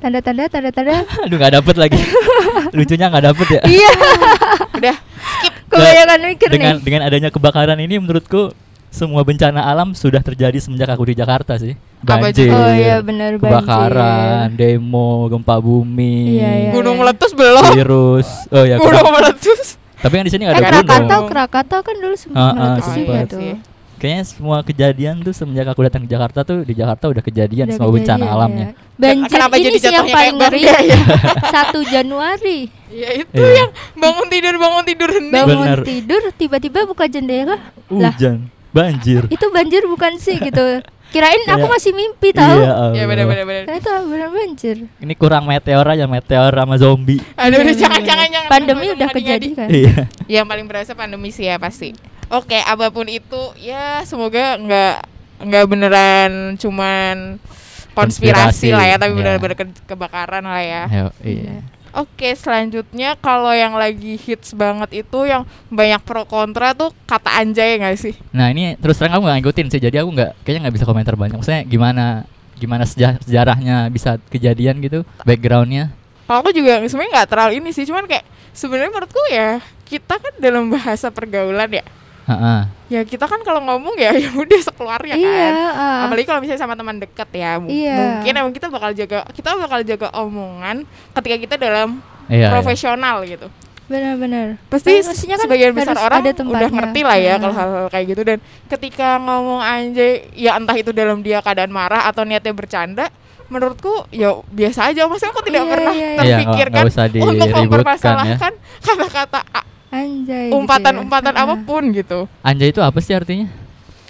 [SPEAKER 3] tanda-tanda tanda-tanda.
[SPEAKER 2] Aduh nggak dapet lagi. Lucunya nggak dapet ya.
[SPEAKER 3] Iya,
[SPEAKER 1] Udah.
[SPEAKER 3] kebanyakan mikir
[SPEAKER 2] dengan
[SPEAKER 3] nih.
[SPEAKER 2] dengan adanya kebakaran ini menurutku semua bencana alam sudah terjadi semenjak aku di Jakarta sih.
[SPEAKER 1] Apa
[SPEAKER 2] Banjir.
[SPEAKER 3] Oh iya benar banjir.
[SPEAKER 2] kebakaran, demo, gempa bumi,
[SPEAKER 3] Iya, iya.
[SPEAKER 2] Iya,
[SPEAKER 1] Gunung meletus belum.
[SPEAKER 2] virus. Oh ya,
[SPEAKER 1] Gunung meletus.
[SPEAKER 2] Tapi yang di sini nggak
[SPEAKER 3] eh
[SPEAKER 2] ada
[SPEAKER 1] Krakatau.
[SPEAKER 2] Bruno.
[SPEAKER 3] Krakatau, Krakatau kan dulu
[SPEAKER 2] Ah, ah,
[SPEAKER 3] sempat meletus
[SPEAKER 2] sempat.
[SPEAKER 3] juga
[SPEAKER 1] iya
[SPEAKER 3] tuh.
[SPEAKER 1] sih.
[SPEAKER 2] Kayaknya semua kejadian tuh semenjak aku datang ke Jakarta tuh di Jakarta udah kejadian
[SPEAKER 3] Udah
[SPEAKER 2] Iya, semua bencana
[SPEAKER 3] kejadian,
[SPEAKER 2] alamnya.
[SPEAKER 3] ya. Banjir
[SPEAKER 1] Kenapa
[SPEAKER 3] ini
[SPEAKER 1] jadi
[SPEAKER 3] sih yang
[SPEAKER 1] jatuhnya
[SPEAKER 3] paling
[SPEAKER 1] kayak
[SPEAKER 3] ngeri.
[SPEAKER 1] Bang Dea ya?
[SPEAKER 3] 1 Januari.
[SPEAKER 1] Ya itu
[SPEAKER 2] Iya.
[SPEAKER 1] yang bangun tidur bangun tidur hening.
[SPEAKER 3] Bangun
[SPEAKER 2] Bener.
[SPEAKER 3] tidur tiba-tiba buka jendela.
[SPEAKER 2] Uh.
[SPEAKER 3] Lah,
[SPEAKER 2] Hujan, banjir.
[SPEAKER 3] itu banjir bukan sih gitu. Kirain aku
[SPEAKER 2] Kayak-
[SPEAKER 3] masih mimpi
[SPEAKER 2] Iya,
[SPEAKER 3] tahu.
[SPEAKER 1] Ya
[SPEAKER 2] Allah.
[SPEAKER 1] benar benar benar.
[SPEAKER 3] Karena itu benar banjir.
[SPEAKER 2] Ini kurang meteor aja, meteor sama zombie.
[SPEAKER 1] Aduh, aduh
[SPEAKER 3] Iya,
[SPEAKER 1] jangan
[SPEAKER 3] bener.
[SPEAKER 1] jangan jangan.
[SPEAKER 3] Pandemi
[SPEAKER 1] Aduh,
[SPEAKER 3] udah
[SPEAKER 1] aduh, aduh,
[SPEAKER 3] kejadian.
[SPEAKER 2] Iya.
[SPEAKER 1] aduh. Yang paling berasa pandemi sih ya pasti. Oke, apapun itu ya semoga nggak nggak beneran cuman konspirasi,
[SPEAKER 2] Konspirasi,
[SPEAKER 1] lah ya, tapi
[SPEAKER 2] iya.
[SPEAKER 1] benar-benar ke- kebakaran lah ya.
[SPEAKER 2] Ayo, iya.
[SPEAKER 1] Oke, selanjutnya kalau yang lagi hits banget itu yang banyak pro kontra tuh kata anjay nggak sih?
[SPEAKER 2] Nah ini terus terang aku nggak ngikutin sih, jadi aku nggak kayaknya nggak bisa komentar banyak. Maksudnya gimana gimana seja- sejarahnya bisa kejadian gitu, backgroundnya.
[SPEAKER 1] Kalau aku juga sebenarnya nggak terlalu ini sih, cuman kayak sebenarnya menurutku ya kita kan dalam bahasa pergaulan ya,
[SPEAKER 2] Ha-ha.
[SPEAKER 1] ya kita kan kalau ngomong ya ya udah sekeluarnya
[SPEAKER 3] Iya,
[SPEAKER 1] kan.
[SPEAKER 3] ah.
[SPEAKER 1] Apalagi kalau misalnya sama teman dekat ya, mu-
[SPEAKER 3] Iya.
[SPEAKER 1] mungkin emang kita bakal jaga kita bakal jaga omongan ketika kita dalam
[SPEAKER 2] Iya. iya.
[SPEAKER 1] profesional gitu.
[SPEAKER 3] Benar-benar.
[SPEAKER 1] Pasti
[SPEAKER 3] Nah,
[SPEAKER 1] se-
[SPEAKER 3] mestinya kan
[SPEAKER 1] sebagian besar
[SPEAKER 3] harus
[SPEAKER 1] orang
[SPEAKER 3] ada
[SPEAKER 1] udah
[SPEAKER 3] tempatnya.
[SPEAKER 1] ngerti lah ya
[SPEAKER 3] Nah.
[SPEAKER 1] kalau hal-hal kayak gitu dan ketika ngomong anjay ya entah itu dalam dia keadaan marah atau niatnya bercanda menurutku ya biasa aja maksudnya aku tidak
[SPEAKER 3] Iya,
[SPEAKER 1] pernah
[SPEAKER 3] iya, iya.
[SPEAKER 2] Iya, nggak-
[SPEAKER 1] terpikirkan
[SPEAKER 2] nggak usah ya.
[SPEAKER 1] untuk
[SPEAKER 2] diributkan ya.
[SPEAKER 1] mempermasalahkan kata-kata a-
[SPEAKER 3] Anjay. gitu
[SPEAKER 1] umpatan-umpatan
[SPEAKER 3] ya. Ah, ah.
[SPEAKER 1] apapun gitu
[SPEAKER 2] Anjay itu apa sih artinya?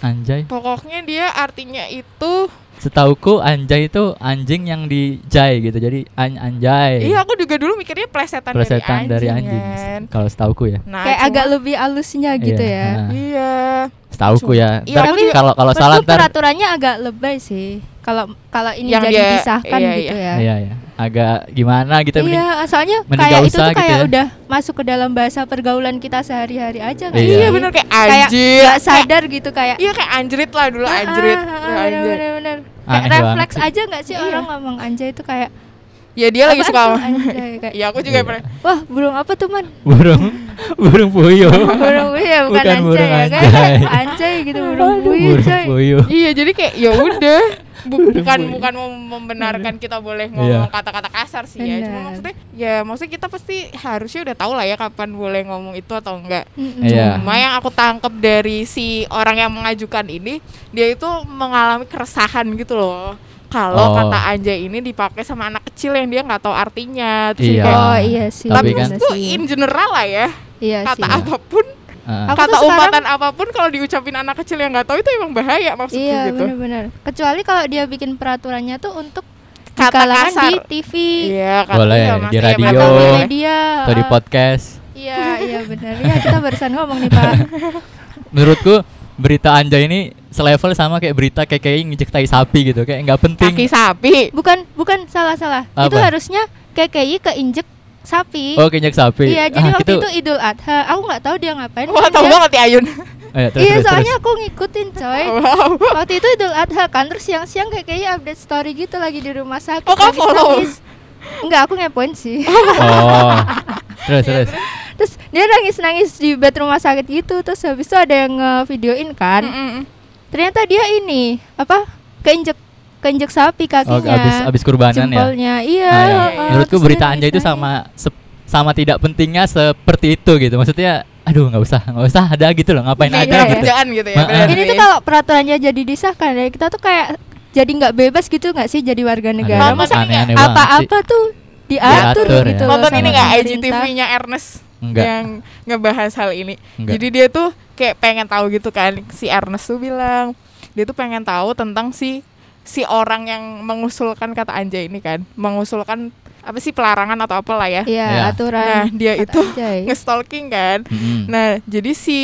[SPEAKER 2] Anjay.
[SPEAKER 1] pokoknya dia artinya itu
[SPEAKER 2] Setauku anjay itu anjing yang dijai gitu. Jadi an anjay.
[SPEAKER 1] iya aku juga dulu mikirnya
[SPEAKER 3] kan
[SPEAKER 1] plesetan,
[SPEAKER 2] Plesetan dari
[SPEAKER 1] anjing,
[SPEAKER 2] anjing.
[SPEAKER 1] kan.
[SPEAKER 2] Kalau setauku ya.
[SPEAKER 1] Nah,
[SPEAKER 3] Kayak
[SPEAKER 1] cuma-
[SPEAKER 3] agak lebih alusnya gitu ya.
[SPEAKER 2] ha.
[SPEAKER 1] iya
[SPEAKER 2] Setauku
[SPEAKER 1] Cuma-
[SPEAKER 2] ya.
[SPEAKER 1] Iya,
[SPEAKER 2] Ntar
[SPEAKER 1] tapi-
[SPEAKER 2] kalau kalau
[SPEAKER 3] Menurutku
[SPEAKER 2] salah ntar
[SPEAKER 3] peraturannya agak lebay sih. Kalau kalau ini
[SPEAKER 1] Yang
[SPEAKER 3] jadi
[SPEAKER 1] dia-
[SPEAKER 3] disahkan
[SPEAKER 1] iya,
[SPEAKER 3] gitu ya.
[SPEAKER 2] Iya ya. Agak gimana gitu mending-
[SPEAKER 3] Iya, soalnya
[SPEAKER 2] mending
[SPEAKER 3] kayak
[SPEAKER 2] gak
[SPEAKER 3] itu tuh
[SPEAKER 2] usah gitu
[SPEAKER 3] kayak
[SPEAKER 2] ya.
[SPEAKER 3] udah masuk ke dalam bahasa pergaulan kita sehari-hari aja kan.
[SPEAKER 2] Iya.
[SPEAKER 1] iya bener kayak
[SPEAKER 3] Kayak
[SPEAKER 1] anjir
[SPEAKER 3] nggak sadar gitu kayak
[SPEAKER 1] iya kayak anjrit lah dulu
[SPEAKER 3] ah,
[SPEAKER 1] anjrit
[SPEAKER 3] ah, ah,
[SPEAKER 1] Iya, anjir.
[SPEAKER 3] bener-bener. Kayak
[SPEAKER 2] Aneh banget
[SPEAKER 3] refleks
[SPEAKER 2] sih.
[SPEAKER 3] aja nggak sih
[SPEAKER 1] Iya.
[SPEAKER 3] orang ngomong anjay itu kayak
[SPEAKER 1] ya dia lagi
[SPEAKER 3] "Apaan
[SPEAKER 1] suka
[SPEAKER 3] tuh
[SPEAKER 1] sama-
[SPEAKER 3] anjay kayak "Ya,
[SPEAKER 1] Iya aku juga
[SPEAKER 2] Iya.
[SPEAKER 1] pernah.
[SPEAKER 3] wah burung apa tuh man
[SPEAKER 2] burung burung puyuh.
[SPEAKER 3] burung ya bukan,
[SPEAKER 2] Bukan
[SPEAKER 3] anjay
[SPEAKER 2] burung
[SPEAKER 3] ya kan
[SPEAKER 2] anjay.
[SPEAKER 3] anjay gitu burung puyuh
[SPEAKER 2] burung
[SPEAKER 3] coy
[SPEAKER 2] puyuh.
[SPEAKER 1] Iya jadi kayak ya udah Bu- bukan bukan mau membenarkan kita boleh ngomong
[SPEAKER 2] Iya.
[SPEAKER 1] kata-kata kasar sih ya. Cuma
[SPEAKER 3] Benar.
[SPEAKER 1] maksudnya ya maksudnya kita pasti harusnya udah tahu lah ya kapan boleh ngomong itu atau enggak.
[SPEAKER 3] Mm-mm.
[SPEAKER 2] Iya.
[SPEAKER 1] Cuma yang aku tangkep dari si orang yang mengajukan ini dia itu mengalami keresahan gitu loh. Kalau
[SPEAKER 2] Oh.
[SPEAKER 1] kata anjay ini dipakai sama anak kecil yang dia nggak tahu artinya. Terus
[SPEAKER 2] Iya.
[SPEAKER 1] kayak,
[SPEAKER 3] oh iya sih
[SPEAKER 2] Tapi
[SPEAKER 1] Ya. Tapi
[SPEAKER 2] kan-
[SPEAKER 1] maksudku in general lah ya
[SPEAKER 3] iya sih
[SPEAKER 1] kata apapun
[SPEAKER 2] Ah.
[SPEAKER 3] Aku tuh
[SPEAKER 1] kata
[SPEAKER 3] sekarang-
[SPEAKER 1] umpatan apapun kalau diucapin anak kecil yang nggak tahu itu emang bahaya maksudku
[SPEAKER 3] Iya
[SPEAKER 1] gitu.
[SPEAKER 3] benar-benar. Kecuali kalau dia bikin peraturannya tuh untuk di
[SPEAKER 1] Kata
[SPEAKER 3] kalangan
[SPEAKER 1] kasar.
[SPEAKER 3] di TV,
[SPEAKER 1] Iya, kan
[SPEAKER 2] Boleh,
[SPEAKER 1] iya,
[SPEAKER 2] di
[SPEAKER 1] maksudnya
[SPEAKER 2] radio.
[SPEAKER 1] mereka
[SPEAKER 3] atau di
[SPEAKER 1] boleh.
[SPEAKER 3] media.
[SPEAKER 2] Atau di
[SPEAKER 3] ah.
[SPEAKER 2] podcast.
[SPEAKER 3] Iya iya benar. Ya kita barusan ngomong nih Pak.
[SPEAKER 2] Menurutku berita Anja ini selevel sama kayak berita KKI ngejek tai sapi gitu. Kayak nggak penting.
[SPEAKER 1] Kaki sapi.
[SPEAKER 3] Bukan bukan salah salah. Itu
[SPEAKER 2] Apa?
[SPEAKER 3] harusnya KKI keinjek sapi.
[SPEAKER 2] Oh, kejek sapi.
[SPEAKER 3] Iya jadi
[SPEAKER 2] Ah,
[SPEAKER 3] waktu itu Idul Adha. Aku nggak tahu dia ngapain.
[SPEAKER 1] Wah,
[SPEAKER 3] kan
[SPEAKER 1] tahu
[SPEAKER 3] dia-
[SPEAKER 1] banget ya Ayun.
[SPEAKER 2] Ayo, terus,
[SPEAKER 3] Iya
[SPEAKER 2] terus,
[SPEAKER 3] soalnya
[SPEAKER 2] terus.
[SPEAKER 3] aku ngikutin coy.
[SPEAKER 1] Wow.
[SPEAKER 3] Waktu itu Idul Adha kan terus siang-siang KKI update story gitu lagi di rumah
[SPEAKER 1] Oh,
[SPEAKER 3] sakit.
[SPEAKER 1] kamu
[SPEAKER 3] habis
[SPEAKER 1] follow?
[SPEAKER 3] nangis. Enggak, aku ngepoin sih.
[SPEAKER 2] Oh. Terus, terus.
[SPEAKER 3] Iya, terus dia nangis-nangis di bed rumah sakit gitu terus habis itu ada yang ngevideoin kan
[SPEAKER 1] Mm-mm.
[SPEAKER 3] ternyata dia ini apa keinjek keinjek sapi
[SPEAKER 2] Oh,
[SPEAKER 3] kakinya
[SPEAKER 2] abis abis kurbanan ya.
[SPEAKER 3] jempolnya iya
[SPEAKER 2] Ah, ya.
[SPEAKER 3] heeh.
[SPEAKER 2] Menurutku
[SPEAKER 3] Terus
[SPEAKER 2] berita
[SPEAKER 3] dia
[SPEAKER 2] Anja itu
[SPEAKER 3] nangis-nangis.
[SPEAKER 2] sama sep- sama tidak pentingnya seperti itu gitu. Maksudnya aduh nggak usah, nggak usah ada gitu loh. Ngapain
[SPEAKER 1] Kayak
[SPEAKER 2] ada
[SPEAKER 3] iya,
[SPEAKER 2] gitu.
[SPEAKER 1] kerjaan gitu ya.
[SPEAKER 2] Ma-
[SPEAKER 1] benar
[SPEAKER 3] ini
[SPEAKER 1] sih.
[SPEAKER 3] tuh kalau peraturannya jadi disahkan ya kita tuh kayak jadi nggak bebas gitu nggak sih jadi warga negara
[SPEAKER 1] Masa iya,
[SPEAKER 3] Maksudnya
[SPEAKER 2] aneh-aneh banget sih.
[SPEAKER 3] apa-apa tuh
[SPEAKER 2] Diatur
[SPEAKER 3] diatur,
[SPEAKER 2] ya.
[SPEAKER 3] gitu loh
[SPEAKER 1] Nonton
[SPEAKER 3] sama
[SPEAKER 1] ini enggak
[SPEAKER 3] pemerintah.
[SPEAKER 1] IGTV-nya Ernest
[SPEAKER 2] Enggak.
[SPEAKER 1] yang ngebahas hal ini.
[SPEAKER 2] Enggak.
[SPEAKER 1] Jadi dia tuh kayak pengen tahu gitu kan si Ernest tuh bilang dia tuh pengen tahu tentang si si orang yang mengusulkan kata anjay ini kan, mengusulkan apa sih pelarangan atau apalah ya.
[SPEAKER 3] iya
[SPEAKER 2] Iya.
[SPEAKER 3] aturan
[SPEAKER 1] Nah, dia
[SPEAKER 3] Kata ya. Hmm.
[SPEAKER 1] itu
[SPEAKER 3] anjay.
[SPEAKER 1] ngestalking kan.
[SPEAKER 2] Mm-mm.
[SPEAKER 1] Nah, jadi si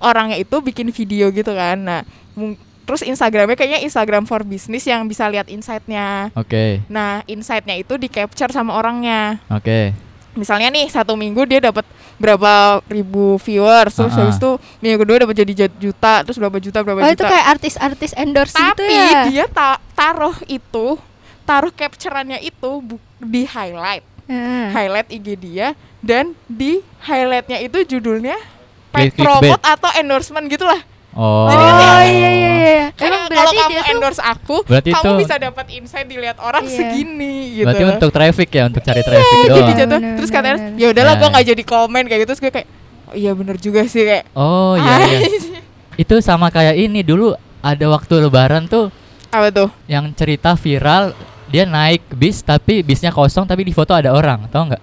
[SPEAKER 1] orangnya itu bikin video gitu kan. Nah, mung- terus Instagramnya kayaknya Instagram for Business yang bisa lihat insight-nya.
[SPEAKER 2] Oke,
[SPEAKER 1] Nah, insight-nya itu di capture sama orangnya.
[SPEAKER 2] oke.
[SPEAKER 1] Misalnya nih satu minggu dia dapat berapa ribu viewers, terus
[SPEAKER 2] Ah, ah.
[SPEAKER 1] habis itu minggu kedua dapat jadi jat- juta, terus berapa juta berapa
[SPEAKER 3] oh
[SPEAKER 1] juta.
[SPEAKER 3] itu kayak artis-artis endorse gitu
[SPEAKER 1] Tapi
[SPEAKER 3] ya
[SPEAKER 1] dia ta- taruh itu, taruh capturannya itu bu- di highlight,
[SPEAKER 3] Heeh.
[SPEAKER 1] highlight IG dia dan di highlightnya itu judulnya
[SPEAKER 2] Click-
[SPEAKER 1] paid
[SPEAKER 2] clickbait.
[SPEAKER 1] promote atau endorsement gitulah.
[SPEAKER 2] Oh.
[SPEAKER 3] Oh iya iya iya.
[SPEAKER 1] Kayak
[SPEAKER 3] Emang
[SPEAKER 1] kalau
[SPEAKER 3] berarti
[SPEAKER 1] kamu
[SPEAKER 3] dia tuh
[SPEAKER 1] endorse aku,
[SPEAKER 2] Berarti
[SPEAKER 1] kamu
[SPEAKER 2] itu-
[SPEAKER 1] bisa dapat insight dilihat orang
[SPEAKER 3] Iya.
[SPEAKER 1] segini gitu.
[SPEAKER 2] Berarti untuk traffic ya, untuk cari traffic
[SPEAKER 1] Eh,
[SPEAKER 2] doang.
[SPEAKER 1] jadi jatuh.
[SPEAKER 3] Bener,
[SPEAKER 1] terus
[SPEAKER 3] bener,
[SPEAKER 1] katanya
[SPEAKER 3] bener.
[SPEAKER 1] ya udahlah
[SPEAKER 2] Nah.
[SPEAKER 1] gua nggak jadi komen kayak gitu terus gue kayak iya bener juga sih kayak
[SPEAKER 2] Oh iya iya. Itu sama kayak ini dulu ada waktu lebaran tuh
[SPEAKER 1] apa tuh
[SPEAKER 2] yang cerita viral dia naik bis tapi bisnya kosong tapi di foto ada orang, tau nggak?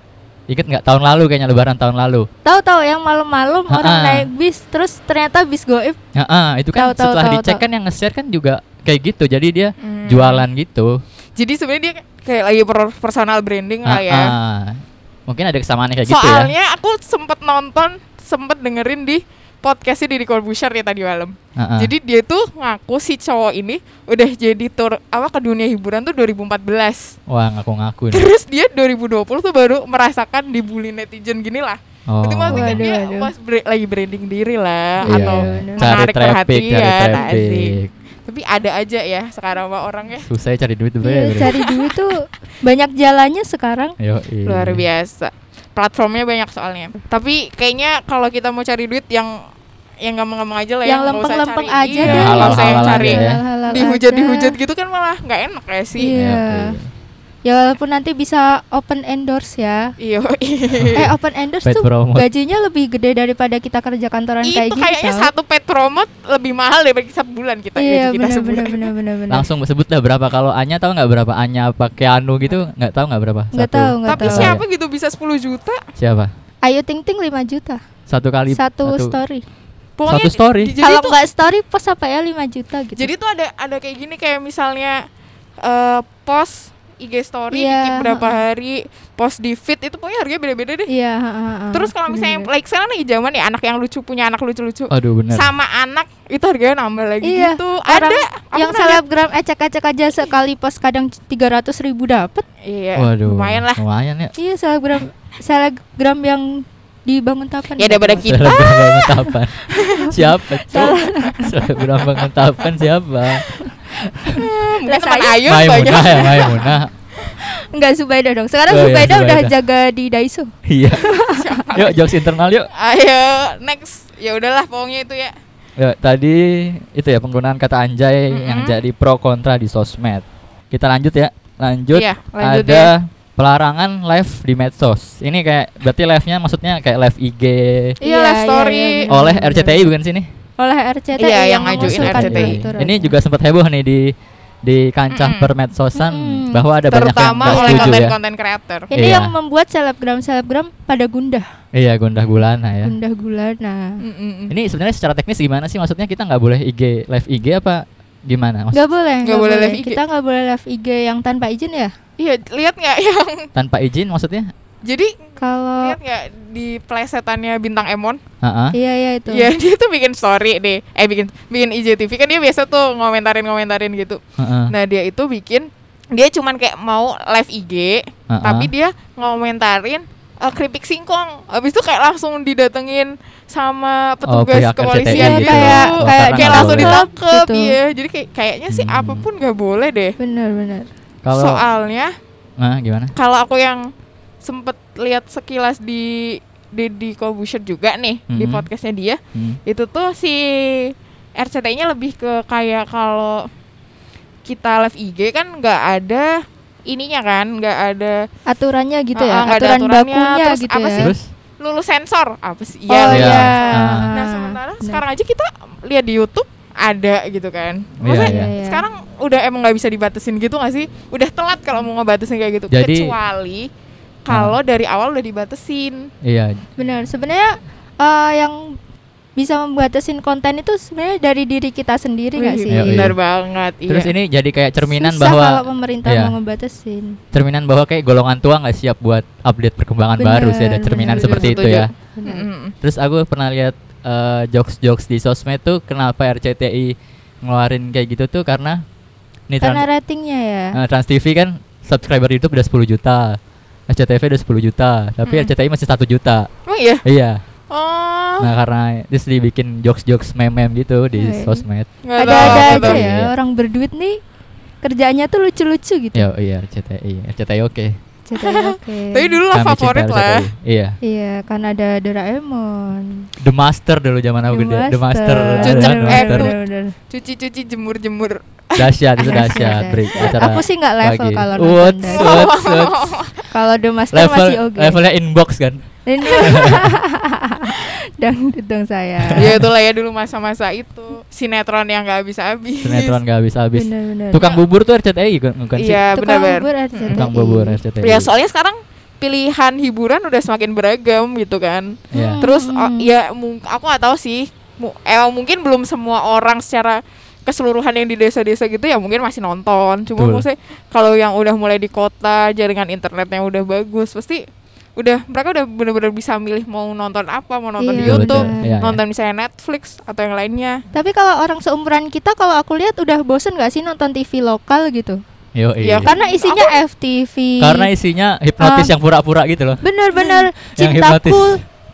[SPEAKER 2] Ingat nggak tahun lalu kayaknya lebaran tahun lalu.
[SPEAKER 3] Tahu-tahu yang malam-malam orang
[SPEAKER 2] Ha-ha.
[SPEAKER 3] naik bis terus ternyata bis goib.
[SPEAKER 2] Heeh, itu kan
[SPEAKER 3] Tahu, tahu,
[SPEAKER 2] setelah
[SPEAKER 3] tahu,
[SPEAKER 2] dicek
[SPEAKER 3] tahu.
[SPEAKER 2] kan yang nge-share kan juga kayak gitu. Jadi dia
[SPEAKER 1] Hmm.
[SPEAKER 2] jualan gitu.
[SPEAKER 1] jadi sebenarnya dia kayak lagi per- personal branding lah ya
[SPEAKER 2] Heeh. Mungkin ada kesamaannya kayak Ah, gitu ya.
[SPEAKER 1] soalnya aku sempet nonton sempet dengerin di podcastnya Deddy Corbuzier ya tadi malam
[SPEAKER 2] Heeh.
[SPEAKER 1] Jadi dia tuh ngaku si cowok ini udah jadi tour apa ke dunia hiburan tuh 2014.
[SPEAKER 2] wah ngaku-ngaku nih.
[SPEAKER 1] Terus dia 2020 tuh baru merasakan dibully netizen gini lah.
[SPEAKER 2] Oh.
[SPEAKER 1] Itu maksudnya
[SPEAKER 3] Waduh,
[SPEAKER 1] dia
[SPEAKER 3] waduh.
[SPEAKER 1] pas bre- lagi branding diri lah
[SPEAKER 2] Iya.
[SPEAKER 1] atau
[SPEAKER 3] bener.
[SPEAKER 2] cari
[SPEAKER 1] menarik
[SPEAKER 2] traffic,
[SPEAKER 1] perhatian.
[SPEAKER 2] cari
[SPEAKER 1] nah sih.
[SPEAKER 2] traffic.
[SPEAKER 1] Tapi ada aja ya sekarang mah orangnya
[SPEAKER 2] Susah ya cari duit tuh,
[SPEAKER 3] Iya,
[SPEAKER 2] Bre.
[SPEAKER 3] cari duit tuh banyak jalannya sekarang.
[SPEAKER 2] Yoi.
[SPEAKER 1] luar biasa. Platformnya banyak soalnya. Tapi kayaknya kalau kita mau cari duit yang yang gampang-gampang aja lah ya,
[SPEAKER 3] Yang
[SPEAKER 1] nggak usah
[SPEAKER 3] lempeng-lempeng
[SPEAKER 1] cari-
[SPEAKER 3] aja
[SPEAKER 1] iya,
[SPEAKER 2] deh.
[SPEAKER 1] nggak usah yang
[SPEAKER 2] Halal-halal aja
[SPEAKER 1] cari
[SPEAKER 2] ya.
[SPEAKER 3] Halal-halal
[SPEAKER 1] dihujat
[SPEAKER 3] aja.
[SPEAKER 1] dihujat gitu kan malah nggak enak ya sih.
[SPEAKER 3] Iya. Ya walaupun nanti bisa open endorse ya.
[SPEAKER 1] Iya.
[SPEAKER 3] eh open endorse
[SPEAKER 2] Paid
[SPEAKER 3] tuh
[SPEAKER 2] promote.
[SPEAKER 3] gajinya lebih gede daripada kita kerja kantoran
[SPEAKER 1] itu
[SPEAKER 3] kayak gitu.
[SPEAKER 1] kayaknya
[SPEAKER 3] tau.
[SPEAKER 1] satu pet promote lebih mahal daripada kita sebulan kita gaji kita
[SPEAKER 3] Iya benar benar
[SPEAKER 1] sebulan.
[SPEAKER 3] benar benar benar.
[SPEAKER 2] Langsung sebut lah berapa kalau Anya tahu nggak berapa Anya apa Keanu gitu nggak tahu nggak berapa?
[SPEAKER 3] Nggak
[SPEAKER 2] Satu.
[SPEAKER 3] tahu, nggak
[SPEAKER 1] Tapi
[SPEAKER 3] tahu.
[SPEAKER 1] siapa gitu bisa 10 juta?
[SPEAKER 2] Siapa?
[SPEAKER 3] Ayu Ting Ting 5 juta.
[SPEAKER 2] Satu kali
[SPEAKER 3] satu, story.
[SPEAKER 1] Pokoknya
[SPEAKER 2] Satu story.
[SPEAKER 1] di- Jadi
[SPEAKER 3] Kalau
[SPEAKER 1] tuh,
[SPEAKER 3] nggak story pos apa ya 5 juta gitu.
[SPEAKER 1] jadi tuh ada ada kayak gini kayak misalnya eh post IG story
[SPEAKER 3] Iya,
[SPEAKER 1] dikit berapa
[SPEAKER 3] heeh.
[SPEAKER 1] hari, post di feed itu pokoknya harganya beda-beda deh.
[SPEAKER 3] Iya, ha, ha, ha.
[SPEAKER 1] Terus kalau misalnya
[SPEAKER 3] Bener-bener.
[SPEAKER 1] like sekarang lagi zaman ya anak yang lucu punya anak lucu-lucu.
[SPEAKER 2] Aduh Oh, bener.
[SPEAKER 1] Sama anak itu harganya nambah lagi
[SPEAKER 3] Iya,
[SPEAKER 1] gitu.
[SPEAKER 3] orang
[SPEAKER 1] Ada aku
[SPEAKER 3] yang
[SPEAKER 1] pernah lihat.
[SPEAKER 3] selebgram ecek-ecek aja sekali pos kadang 300 ribu dapat.
[SPEAKER 1] Iya,
[SPEAKER 2] Waduh.
[SPEAKER 1] lumayan lah.
[SPEAKER 2] Lumayan ya.
[SPEAKER 3] Iya, selebgram selebgram yang dibangun tapan.
[SPEAKER 1] Ya daripada kita
[SPEAKER 2] Selebgram Bangun Tapan. siapa tuh? Selebgram Bangun Tapan siapa?
[SPEAKER 1] mungkin
[SPEAKER 3] Lah,
[SPEAKER 1] teman
[SPEAKER 3] saya-
[SPEAKER 1] Ayu
[SPEAKER 2] Maimunah
[SPEAKER 1] banyak.
[SPEAKER 2] ya Maimunah.
[SPEAKER 3] Enggak Zubaida dong. Sekarang
[SPEAKER 2] Oh, iya,
[SPEAKER 3] Zubaida, udah
[SPEAKER 2] Zubaida.
[SPEAKER 3] jaga di Daiso.
[SPEAKER 2] Iya. yuk jokes internal yuk.
[SPEAKER 1] Ayo next. Ya udahlah pokoknya itu ya.
[SPEAKER 2] Ya, tadi itu ya penggunaan kata anjay
[SPEAKER 1] Mm-mm.
[SPEAKER 2] yang jadi pro kontra di sosmed. Kita lanjut ya. Lanjut.
[SPEAKER 1] Iya, lanjut
[SPEAKER 2] ada pelarangan live di medsos. Ini kayak berarti live-nya maksudnya kayak live IG
[SPEAKER 1] Iya, live story.
[SPEAKER 3] bener,
[SPEAKER 2] oleh
[SPEAKER 3] bener,
[SPEAKER 2] RCTI bukan sini?
[SPEAKER 3] bener. Oleh RCTI
[SPEAKER 1] Iya, yang
[SPEAKER 3] yang
[SPEAKER 1] ngajuin
[SPEAKER 3] mengusulkan
[SPEAKER 1] RCTI.
[SPEAKER 3] peraturan.
[SPEAKER 2] Ini juga sempat heboh nih di di kancah
[SPEAKER 1] Mm-mm.
[SPEAKER 2] permedsosan
[SPEAKER 3] Mm-mm.
[SPEAKER 2] bahwa ada banyak yang
[SPEAKER 1] Terutama
[SPEAKER 2] nggak
[SPEAKER 1] oleh
[SPEAKER 2] setuju ya.
[SPEAKER 1] konten-konten kreator.
[SPEAKER 3] ini
[SPEAKER 2] Iya.
[SPEAKER 3] yang membuat selebgram-selebgram pada gundah,
[SPEAKER 2] Iya, gundah gulana ya.
[SPEAKER 3] gundah Nah, gulana.
[SPEAKER 1] Mm-mm.
[SPEAKER 2] Ini sebenarnya secara teknis gimana sih maksudnya kita nggak boleh IG live IG apa gimana? Maksud-
[SPEAKER 3] Gak boleh,
[SPEAKER 1] Nggak
[SPEAKER 3] nggak
[SPEAKER 1] boleh
[SPEAKER 3] boleh.
[SPEAKER 1] live IG.
[SPEAKER 3] Kita nggak boleh live IG yang tanpa izin ya.
[SPEAKER 1] Iya, lihat nggak yang
[SPEAKER 2] tanpa izin maksudnya?
[SPEAKER 1] jadi
[SPEAKER 3] Kalau
[SPEAKER 1] lihat nggak di plesetannya bintang Emon?
[SPEAKER 2] Heeh.
[SPEAKER 3] iya iya itu.
[SPEAKER 1] Iya, dia tuh bikin story deh. Eh bikin bikin IGTV kan dia biasa tuh ngomentarin-ngomentarin gitu.
[SPEAKER 2] Heeh.
[SPEAKER 1] Nah, dia itu bikin dia cuman kayak mau live IG,
[SPEAKER 2] Heeh.
[SPEAKER 1] tapi dia ngomentarin eh, keripik singkong. Habis itu kayak langsung didatengin sama
[SPEAKER 2] Oh,
[SPEAKER 1] petugas
[SPEAKER 2] pihak RCTI
[SPEAKER 1] kepolisian
[SPEAKER 3] Iya
[SPEAKER 2] gitu.
[SPEAKER 1] gitu.
[SPEAKER 3] kayak
[SPEAKER 2] Oh,
[SPEAKER 3] kayak
[SPEAKER 2] karena
[SPEAKER 1] kayak
[SPEAKER 2] nggak
[SPEAKER 1] langsung
[SPEAKER 2] boleh.
[SPEAKER 1] ditangkep
[SPEAKER 3] gitu.
[SPEAKER 1] iya. Jadi kayak kayaknya sih
[SPEAKER 2] Hmm.
[SPEAKER 1] apapun nggak boleh deh.
[SPEAKER 3] Benar-benar.
[SPEAKER 2] Kalau
[SPEAKER 1] Soalnya
[SPEAKER 2] Nah, gimana?
[SPEAKER 1] kalau aku yang sempet lihat sekilas di Deddy Corbuzier juga nih di
[SPEAKER 2] Mhm.
[SPEAKER 1] podcastnya dia
[SPEAKER 2] Hmm.
[SPEAKER 1] itu tuh si RCTI-nya lebih ke kayak kalau kita live IG kan nggak ada ininya kan nggak ada
[SPEAKER 3] Aturannya gitu
[SPEAKER 1] Ah, ah,
[SPEAKER 3] ya,
[SPEAKER 1] nggak ada
[SPEAKER 3] aturan
[SPEAKER 1] aturannya,
[SPEAKER 3] bakunya
[SPEAKER 1] terus
[SPEAKER 3] gitu
[SPEAKER 1] apa
[SPEAKER 3] ya.
[SPEAKER 1] sih?
[SPEAKER 2] Terus?
[SPEAKER 1] lulus sensor apa sih
[SPEAKER 3] Oh
[SPEAKER 1] iya
[SPEAKER 2] Iya.
[SPEAKER 3] iya.
[SPEAKER 2] Ah.
[SPEAKER 1] nah sementara sekarang aja kita lihat di YouTube ada gitu kan
[SPEAKER 2] Iya,
[SPEAKER 1] maksudnya
[SPEAKER 2] iya.
[SPEAKER 3] Iya.
[SPEAKER 1] sekarang udah emang nggak bisa dibatasin gitu nggak sih udah telat kalau mau ngebatasin kayak gitu
[SPEAKER 2] Jadi- Ah.
[SPEAKER 1] kecuali kalau dari awal udah dibatasin
[SPEAKER 2] Iya.
[SPEAKER 3] Benar. Sebenarnya eh, yang bisa membatasin konten itu sebenarnya dari diri kita sendiri nggak
[SPEAKER 1] Wih,
[SPEAKER 3] sih?
[SPEAKER 2] Iya,
[SPEAKER 1] Bener banget.
[SPEAKER 2] Terus
[SPEAKER 1] iya.
[SPEAKER 2] ini jadi kayak cerminan
[SPEAKER 3] Susah
[SPEAKER 2] bahwa
[SPEAKER 3] kalau pemerintah
[SPEAKER 2] Iya.
[SPEAKER 3] mau ngebatasin.
[SPEAKER 2] cerminan bahwa kayak golongan tua nggak siap buat update perkembangan
[SPEAKER 3] Bener,
[SPEAKER 2] baru sih ada
[SPEAKER 3] bener,
[SPEAKER 2] cerminan
[SPEAKER 3] bener,
[SPEAKER 2] seperti itu
[SPEAKER 1] setuju.
[SPEAKER 2] ya.
[SPEAKER 3] Benar.
[SPEAKER 1] Mm-mm.
[SPEAKER 2] Terus aku pernah lihat eh, jokes-jokes di sosmed tuh kenapa RCTI ngeluarin kayak gitu tuh karena nih
[SPEAKER 3] Karena
[SPEAKER 2] Trans,
[SPEAKER 3] ratingnya ya.
[SPEAKER 2] eh, Trans TV kan subscriber YouTube udah 10 juta. SCTV udah 10 juta, tapi
[SPEAKER 1] Mm.
[SPEAKER 2] RCTI masih 1 juta.
[SPEAKER 1] Emang iya?
[SPEAKER 2] Iya.
[SPEAKER 1] Oh,
[SPEAKER 2] Nah, karena terus dibikin jokes-jokes meme-meme gitu di
[SPEAKER 3] Iya.
[SPEAKER 2] sosmed.
[SPEAKER 1] nggak
[SPEAKER 3] Ada-ada
[SPEAKER 1] tahu,
[SPEAKER 2] Betul.
[SPEAKER 3] aja
[SPEAKER 1] nggak tahu.
[SPEAKER 3] ya
[SPEAKER 2] Iya.
[SPEAKER 3] orang berduit nih kerjaannya tuh lucu-lucu gitu.
[SPEAKER 2] Yo, iya RCTI. RCTI oke.
[SPEAKER 3] Ceritanya oke.
[SPEAKER 1] Tapi dulu lah
[SPEAKER 2] Kami cinta
[SPEAKER 1] favorit lah. ya.
[SPEAKER 2] RCTI. Iya.
[SPEAKER 3] Iya, kan ada Doraemon.
[SPEAKER 2] The
[SPEAKER 3] eh,
[SPEAKER 2] Master dulu zaman aku gede. The Master.
[SPEAKER 1] Cucek,
[SPEAKER 2] The Master.
[SPEAKER 1] Cuci-cuci jemur-jemur
[SPEAKER 2] dahsyat itu dahsyat
[SPEAKER 3] Dahsyat, dahsyat.
[SPEAKER 2] break acara
[SPEAKER 3] Aku sih nggak level
[SPEAKER 2] pagi.
[SPEAKER 3] kalau nonton
[SPEAKER 2] Wuts,
[SPEAKER 3] dari-
[SPEAKER 2] wuts, wuts.
[SPEAKER 3] Kalau The Master
[SPEAKER 2] level
[SPEAKER 3] masih oke.
[SPEAKER 2] levelnya inbox kan
[SPEAKER 3] Ini dangdut dong saya.
[SPEAKER 1] ya itulah ya dulu masa-masa itu sinetron yang nggak habis-habis
[SPEAKER 2] sinetron gak habis habis
[SPEAKER 3] Benar-benar.
[SPEAKER 2] tukang bubur tuh RCTI kan bukan sih Iya,
[SPEAKER 1] iya
[SPEAKER 3] Tukang
[SPEAKER 1] benar
[SPEAKER 3] bubur eh. RCTI.
[SPEAKER 2] tukang bubur
[SPEAKER 3] Iya.
[SPEAKER 2] RCTI
[SPEAKER 1] ya soalnya sekarang pilihan hiburan udah semakin beragam gitu kan
[SPEAKER 2] Iya.
[SPEAKER 3] Hmm.
[SPEAKER 1] terus oh, ya mung- aku nggak tahu sih Mu- emang mungkin belum semua orang secara keseluruhan yang di desa-desa gitu ya mungkin masih nonton cuma
[SPEAKER 2] Betul.
[SPEAKER 1] maksudnya kalau yang udah mulai di kota jaringan internetnya udah bagus pasti udah mereka udah bener-bener bisa milih mau nonton apa mau nonton di
[SPEAKER 3] Iya,
[SPEAKER 1] YouTube
[SPEAKER 3] betul.
[SPEAKER 2] Iya, iya.
[SPEAKER 1] nonton misalnya Netflix atau yang lainnya
[SPEAKER 3] Tapi kalau orang seumuran kita kalau aku lihat udah bosen gak sih nonton TV lokal gitu?
[SPEAKER 2] Yo,
[SPEAKER 1] Iya,
[SPEAKER 2] iya.
[SPEAKER 1] kan-
[SPEAKER 3] Karena isinya FTV.
[SPEAKER 2] karena isinya hipnotis
[SPEAKER 3] Ah.
[SPEAKER 2] yang pura-pura gitu loh
[SPEAKER 3] bener-bener
[SPEAKER 2] Hmm. Yang
[SPEAKER 3] cintaku
[SPEAKER 2] hipnotis.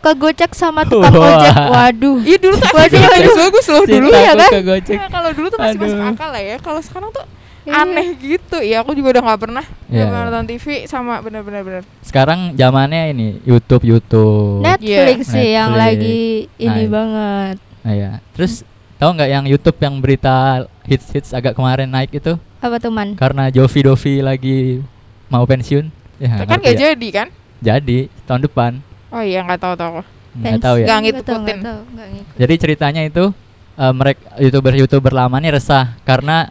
[SPEAKER 3] kegocek sama tukang
[SPEAKER 2] Wah.
[SPEAKER 3] ojek. Waduh.
[SPEAKER 1] Iya dulu tuh
[SPEAKER 3] Waduh,
[SPEAKER 1] FTV
[SPEAKER 3] waduh.
[SPEAKER 1] bagus loh dulu
[SPEAKER 2] Cintaku
[SPEAKER 1] ya kan.
[SPEAKER 2] ke Gojek.
[SPEAKER 1] Nah, kalau dulu tuh masih masuk
[SPEAKER 2] Aduh.
[SPEAKER 1] akal lah ya. Kalau sekarang tuh
[SPEAKER 3] Iya.
[SPEAKER 1] aneh gitu. Ya aku juga udah nggak pernah nggak
[SPEAKER 2] Iya,
[SPEAKER 1] pernah
[SPEAKER 2] iya.
[SPEAKER 1] nonton TV sama bener-bener bener.
[SPEAKER 2] sekarang zamannya ini YouTube YouTube
[SPEAKER 3] Netflix
[SPEAKER 2] Iya.
[SPEAKER 3] sih yang
[SPEAKER 2] Netflix.
[SPEAKER 3] lagi ini
[SPEAKER 2] Naik.
[SPEAKER 3] banget.
[SPEAKER 2] Nah, iya. terus tahu nggak yang YouTube yang berita hits hits agak kemarin naik itu
[SPEAKER 3] Apa tuh man?
[SPEAKER 2] karena Jovi Dovi lagi mau pensiun
[SPEAKER 1] kan
[SPEAKER 2] ya, ngerti
[SPEAKER 1] nggak
[SPEAKER 2] ya.
[SPEAKER 1] jadi kan?
[SPEAKER 2] jadi tahun depan
[SPEAKER 1] Oh iya nggak tahu tahu.
[SPEAKER 2] nggak tahu ya
[SPEAKER 1] Nggak
[SPEAKER 3] Nggak
[SPEAKER 1] ngikutin.
[SPEAKER 3] tahu, nggak tahu, nggak ngikutin.
[SPEAKER 2] jadi ceritanya itu eh, mereka youtuber youtuber lama nih resah karena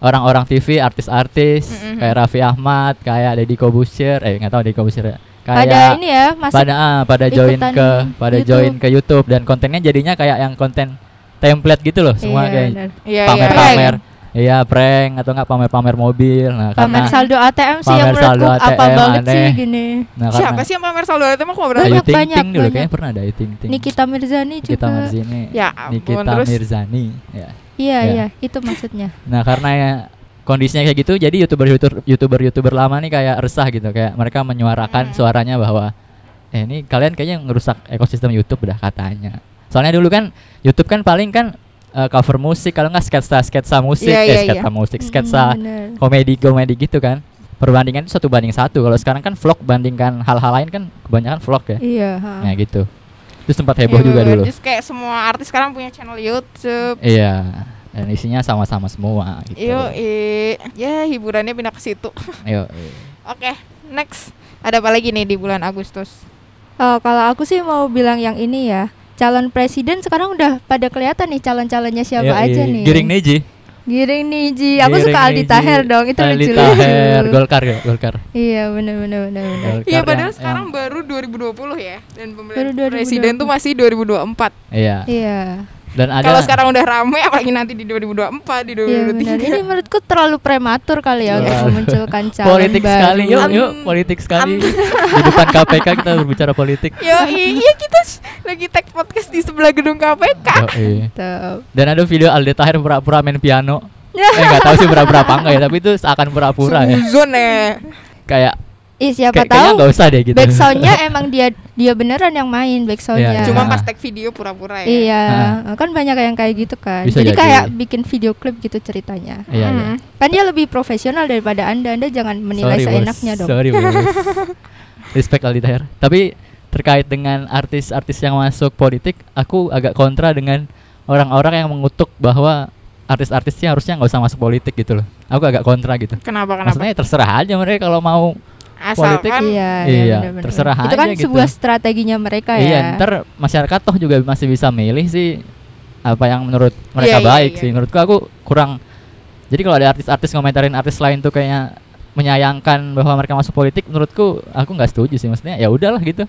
[SPEAKER 2] orang-orang TV artis-artis
[SPEAKER 1] Mm-mm.
[SPEAKER 2] kayak Raffi Ahmad kayak Deddy Kobusir eh nggak tahu Deddy Kobusir ya kayak
[SPEAKER 3] Pada ini ya, masih
[SPEAKER 2] pada ah, pada join
[SPEAKER 3] ikutan
[SPEAKER 2] ke pada
[SPEAKER 3] YouTube.
[SPEAKER 2] join ke YouTube dan kontennya jadinya kayak yang konten template gitu loh semua
[SPEAKER 3] Iya,
[SPEAKER 2] kayak
[SPEAKER 3] benar.
[SPEAKER 1] Iya iya.
[SPEAKER 2] pamer-pamer iya prank atau nggak pamer-pamer mobil nah
[SPEAKER 3] pamer
[SPEAKER 2] karena
[SPEAKER 3] saldo ATM sih
[SPEAKER 2] pamer
[SPEAKER 3] yang
[SPEAKER 2] saldo
[SPEAKER 3] menurutku apa
[SPEAKER 2] ATM
[SPEAKER 3] banget sih
[SPEAKER 2] aneh.
[SPEAKER 3] gini.
[SPEAKER 2] nah,
[SPEAKER 1] iya. Siapa sih yang pamer saldo itu aku nggak pernah.
[SPEAKER 2] Ayu
[SPEAKER 3] Banyak,
[SPEAKER 2] Ting
[SPEAKER 3] banyak,
[SPEAKER 2] Ting dulu
[SPEAKER 3] banyak.
[SPEAKER 2] kayaknya pernah ada Ayu Ting Ting
[SPEAKER 3] Nikita Mirzani
[SPEAKER 2] Nikita
[SPEAKER 3] juga.
[SPEAKER 2] Mirzani
[SPEAKER 1] Ya ampun,
[SPEAKER 2] Nikita
[SPEAKER 1] terus?
[SPEAKER 2] Mirzani ya
[SPEAKER 3] Iya,
[SPEAKER 2] Ya.
[SPEAKER 3] iya, itu maksudnya.
[SPEAKER 2] Nah karena ya kondisinya kayak gitu, jadi youtuber youtuber youtuber youtuber lama nih kayak resah gitu, kayak mereka
[SPEAKER 1] Hmm.
[SPEAKER 2] menyuarakan suaranya bahwa eh ini kalian kayaknya ngerusak ekosistem YouTube dah katanya. Soalnya dulu kan YouTube kan paling kan eh, cover musik, kalau nggak sketsa sketsa musik,
[SPEAKER 1] Iya,
[SPEAKER 2] eh,
[SPEAKER 1] iya, iya.
[SPEAKER 2] sketsa musik, sketsa
[SPEAKER 3] Mm, bener.
[SPEAKER 2] komedi komedi gitu kan. Perbandingan itu satu banding satu. Kalau sekarang kan vlog bandingkan hal-hal lain kan kebanyakan vlog ya.
[SPEAKER 3] Iya, ha.
[SPEAKER 2] Nah gitu. Itu sempat
[SPEAKER 1] Iya,
[SPEAKER 2] heboh juga
[SPEAKER 1] ya
[SPEAKER 2] dulu.
[SPEAKER 1] Terus kayak semua artis sekarang punya channel YouTube.
[SPEAKER 2] Iya. Dan isinya sama-sama semua gitu.
[SPEAKER 1] Yo, ya hiburannya pindah ke situ.
[SPEAKER 2] Yo.
[SPEAKER 1] Oke, next. Ada apa lagi nih di bulan Agustus?
[SPEAKER 3] Oh, kalau aku sih mau bilang yang ini ya. Calon presiden sekarang udah pada kelihatan nih calon-calonnya siapa Ya, aja nih.
[SPEAKER 2] Giring Neji.
[SPEAKER 3] Giring Niji. Iya, Aku
[SPEAKER 2] Giring
[SPEAKER 3] suka Aldi
[SPEAKER 2] Niji,
[SPEAKER 3] Taher dong. Itu
[SPEAKER 2] Aldi
[SPEAKER 3] lucu
[SPEAKER 2] Taher,
[SPEAKER 3] lucu.
[SPEAKER 2] Golkar ya, Golkar.
[SPEAKER 3] Iya, bener bener bener bener.
[SPEAKER 2] Golkar ya,
[SPEAKER 1] Iya padahal
[SPEAKER 2] yang-
[SPEAKER 1] sekarang
[SPEAKER 2] yang-
[SPEAKER 1] baru 2020 ya dan
[SPEAKER 3] Baru
[SPEAKER 1] pemilihan presiden
[SPEAKER 3] 2020.
[SPEAKER 1] tuh masih 2024.
[SPEAKER 2] Iya.
[SPEAKER 3] Iya.
[SPEAKER 2] Dan ada
[SPEAKER 1] Kalau sekarang udah rame apalagi nanti di 2024, di
[SPEAKER 3] Iya benar. Ini
[SPEAKER 1] 2023.
[SPEAKER 3] menurutku terlalu prematur kali ya untuk
[SPEAKER 2] Wah.
[SPEAKER 3] memunculkan calon
[SPEAKER 2] politik
[SPEAKER 3] baru.
[SPEAKER 2] sekali. Yuk,
[SPEAKER 1] Am-
[SPEAKER 2] yuk, politik sekali. Di depan KPK kita berbicara politik.
[SPEAKER 1] Yo, iya kita s- lagi tag podcast di sebelah gedung KPK.
[SPEAKER 2] Yoi.
[SPEAKER 3] Mantap.
[SPEAKER 2] Dan ada video Aldi Taher pura-pura main piano. eh enggak tahu sih pura-pura apa enggak ya, tapi itu seakan pura-pura ya.
[SPEAKER 1] Suzon ya.
[SPEAKER 2] Kayak
[SPEAKER 3] Ih, siapa
[SPEAKER 2] kayak- kayaknya
[SPEAKER 3] tahu
[SPEAKER 2] enggak usah deh gitu.
[SPEAKER 3] backsoundnya emang dia dia beneran yang main backsoundnya
[SPEAKER 2] Iya,
[SPEAKER 1] Cuma
[SPEAKER 2] Ah.
[SPEAKER 1] pas tag video pura-pura ya.
[SPEAKER 3] iya
[SPEAKER 2] Ah.
[SPEAKER 3] kan banyak yang kayak gitu kan
[SPEAKER 2] Bisa
[SPEAKER 3] jadi,
[SPEAKER 2] jadi.
[SPEAKER 3] kayak bikin video klip gitu ceritanya
[SPEAKER 2] Iya, iya.
[SPEAKER 1] Hmm.
[SPEAKER 3] kan dia lebih profesional daripada anda anda jangan menilai
[SPEAKER 2] Sorry, bos.
[SPEAKER 3] seenaknya dong
[SPEAKER 2] Sorry, bos. Respect Aldi Taher. Tapi terkait dengan artis-artis yang masuk politik, aku agak kontra dengan orang-orang yang mengutuk bahwa artis-artisnya harusnya nggak usah masuk politik gitu loh. Aku agak kontra gitu.
[SPEAKER 1] Kenapa kenapa?
[SPEAKER 2] Maksudnya ya terserah aja mereka kalau mau. politik,
[SPEAKER 1] Asalkan
[SPEAKER 3] iya
[SPEAKER 2] Iya,
[SPEAKER 3] bener-bener.
[SPEAKER 2] terserah
[SPEAKER 3] itu kan
[SPEAKER 2] aja gitu.
[SPEAKER 3] sebuah strateginya mereka ya
[SPEAKER 2] Iya, ntar masyarakat toh juga masih bisa milih sih apa yang menurut
[SPEAKER 1] Iya,
[SPEAKER 2] mereka
[SPEAKER 1] iya,
[SPEAKER 2] baik
[SPEAKER 1] iya.
[SPEAKER 2] sih. Menurutku aku kurang. Jadi kalau ada artis-artis komentarin artis lain tuh kayaknya menyayangkan bahwa mereka masuk politik, menurutku aku nggak setuju sih. Maksudnya ya udahlah gitu.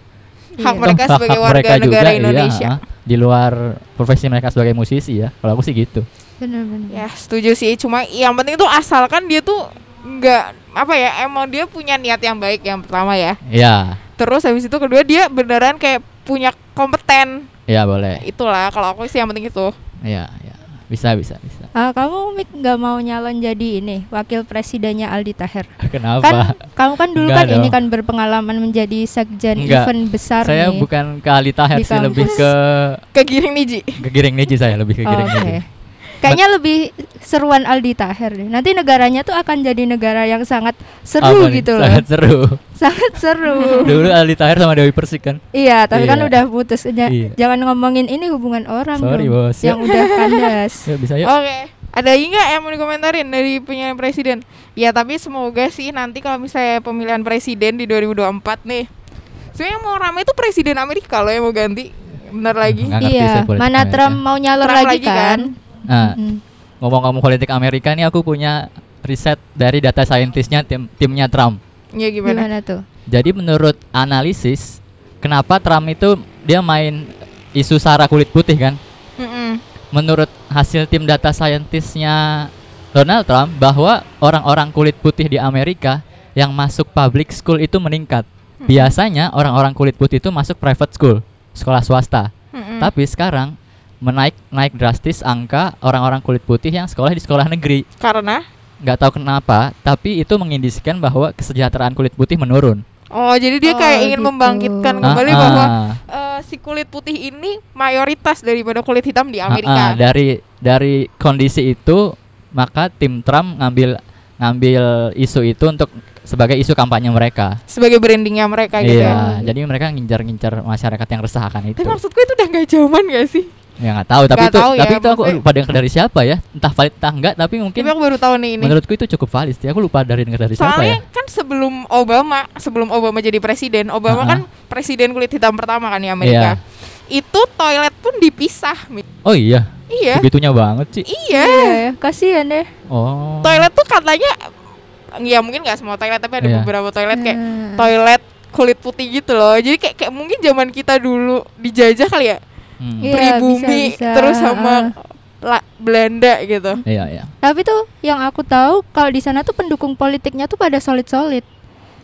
[SPEAKER 1] hak
[SPEAKER 3] Iya.
[SPEAKER 1] mereka
[SPEAKER 2] Toh,
[SPEAKER 1] sebagai
[SPEAKER 2] hak
[SPEAKER 1] warga
[SPEAKER 2] mereka
[SPEAKER 1] negara
[SPEAKER 2] iya,
[SPEAKER 1] Indonesia.
[SPEAKER 2] ha. di luar profesi mereka sebagai musisi ya. Kalau aku sih gitu.
[SPEAKER 3] bener-bener
[SPEAKER 1] Ya, setuju sih. Cuma yang penting tuh asalkan dia tuh nggak apa ya, emang dia punya niat yang baik yang pertama ya.
[SPEAKER 2] Iya,
[SPEAKER 1] Terus habis itu kedua dia beneran kayak punya kompeten.
[SPEAKER 2] iya boleh.
[SPEAKER 1] Itulah kalau aku sih yang penting itu.
[SPEAKER 2] Iya, iya. Bisa bisa bisa.
[SPEAKER 3] Ah, kamu Mik nggak mau nyalon jadi ini wakil presidennya Aldi Taher
[SPEAKER 2] Kenapa?
[SPEAKER 3] kan kamu kan dulu
[SPEAKER 2] Nggak
[SPEAKER 3] kan ini
[SPEAKER 2] dong.
[SPEAKER 3] kan berpengalaman menjadi sekjen
[SPEAKER 2] Nggak.
[SPEAKER 3] event besar
[SPEAKER 2] saya
[SPEAKER 3] nih
[SPEAKER 2] bukan ke Ali Taher
[SPEAKER 3] Di
[SPEAKER 2] sih lebih
[SPEAKER 3] kampus.
[SPEAKER 2] ke
[SPEAKER 1] Kegiring nih, Ji.
[SPEAKER 2] ke Giring Neji saya lebih ke
[SPEAKER 3] Oh,
[SPEAKER 2] Giring
[SPEAKER 3] Oke.
[SPEAKER 2] Neji.
[SPEAKER 3] Kayaknya lebih seruan Aldi Taher deh. Nanti negaranya tuh akan jadi negara yang sangat seru
[SPEAKER 2] Apa nih?
[SPEAKER 3] gitu loh.
[SPEAKER 2] Sangat
[SPEAKER 3] Sangat,
[SPEAKER 2] seru.
[SPEAKER 3] seru.
[SPEAKER 2] Dulu Ali Taher sama Dewi Persik kan.
[SPEAKER 3] iya, tapi kan
[SPEAKER 2] Iya.
[SPEAKER 3] udah putus aja.
[SPEAKER 2] Iya.
[SPEAKER 3] Jangan ngomongin ini hubungan orang
[SPEAKER 2] Sorry,
[SPEAKER 3] dong
[SPEAKER 2] Bos.
[SPEAKER 3] yang udah kandas.
[SPEAKER 2] Ya bisa
[SPEAKER 1] Oke.
[SPEAKER 2] yuk.
[SPEAKER 1] Ada lagi nggak yang mau dikomentarin dari pemilihan presiden? Ya tapi semoga sih nanti kalau misalnya pemilihan presiden di 2024 nih Sebenernya yang mau rame itu presiden Amerika loh yang mau ganti Bener lagi
[SPEAKER 2] Nggak ngerti saya
[SPEAKER 3] Iya,
[SPEAKER 2] politik
[SPEAKER 3] mana
[SPEAKER 2] Amerika.
[SPEAKER 3] Trump mau nyalon
[SPEAKER 1] Trump
[SPEAKER 3] lagi
[SPEAKER 1] lagi kan?
[SPEAKER 3] kan?
[SPEAKER 2] Nah,
[SPEAKER 3] Mm.
[SPEAKER 2] ngomong-ngomong politik Amerika nih aku punya riset dari data saintisnya tim timnya Trump.
[SPEAKER 1] Ya gimana?
[SPEAKER 3] Gimana tuh?
[SPEAKER 2] Jadi menurut analisis, kenapa Trump itu dia main isu sara kulit putih kan?
[SPEAKER 1] Mm-mm.
[SPEAKER 2] Menurut hasil tim data saintisnya Donald Trump bahwa orang-orang kulit putih di Amerika yang masuk public school itu meningkat.
[SPEAKER 1] Hmm.
[SPEAKER 2] Biasanya orang-orang kulit putih itu masuk private school, sekolah swasta.
[SPEAKER 1] Mm-mm.
[SPEAKER 2] Tapi sekarang menaik naik drastis angka orang-orang kulit putih yang sekolah di sekolah negeri.
[SPEAKER 1] Karena?
[SPEAKER 2] Nggak tahu kenapa, tapi itu mengindisikan bahwa kesejahteraan kulit putih menurun.
[SPEAKER 1] Oh jadi dia kayak
[SPEAKER 3] Oh,
[SPEAKER 1] ingin
[SPEAKER 3] gitu.
[SPEAKER 1] membangkitkan kembali
[SPEAKER 2] Ah, ah.
[SPEAKER 1] bahwa eh, si kulit putih ini mayoritas daripada kulit hitam di
[SPEAKER 2] Ah, ah,
[SPEAKER 1] Amerika
[SPEAKER 2] dari dari kondisi itu maka tim Trump ngambil ngambil isu itu untuk sebagai isu kampanye mereka.
[SPEAKER 1] Sebagai brandingnya mereka gitu ya
[SPEAKER 2] Iya, jadi mereka ngincar-ngincar masyarakat yang resah akan itu.
[SPEAKER 1] Tapi maksudku itu udah gak zaman gak sih?
[SPEAKER 2] Ya nggak tahu, tapi
[SPEAKER 1] Nggak
[SPEAKER 2] itu
[SPEAKER 1] tahu ya,
[SPEAKER 2] tapi itu aku
[SPEAKER 1] maksudnya-
[SPEAKER 2] lupa dengar dari siapa ya, entah valid entah enggak, tapi mungkin
[SPEAKER 1] Tapi aku baru tahu nih ini
[SPEAKER 2] menurutku itu cukup valid. sih. Aku lupa dari dengar dari siapa ya.
[SPEAKER 1] Soalnya kan sebelum Obama, sebelum Obama jadi presiden, Obama
[SPEAKER 2] Ha-ha.
[SPEAKER 1] kan presiden kulit hitam pertama kan di Amerika.
[SPEAKER 2] Iya.
[SPEAKER 1] Itu toilet pun dipisah. Mi.
[SPEAKER 2] Oh iya,
[SPEAKER 1] Iya.
[SPEAKER 2] begitunya banget sih.
[SPEAKER 1] Iya.
[SPEAKER 3] Iya, kasihan deh.
[SPEAKER 2] Oh.
[SPEAKER 1] Toilet tuh katanya ya mungkin nggak semua toilet tapi ada
[SPEAKER 2] Iya.
[SPEAKER 1] beberapa toilet kayak
[SPEAKER 3] Nah.
[SPEAKER 1] toilet kulit putih gitu loh. Jadi kayak kayak mungkin zaman kita dulu dijajah kali ya,
[SPEAKER 2] Hmm.
[SPEAKER 3] Iya,
[SPEAKER 1] pribumi
[SPEAKER 3] bisa, bisa.
[SPEAKER 1] terus sama La- Belanda gitu.
[SPEAKER 2] Iya, iya.
[SPEAKER 3] Tapi tuh yang aku tahu kalau di sana tuh pendukung politiknya tuh pada solid-solid.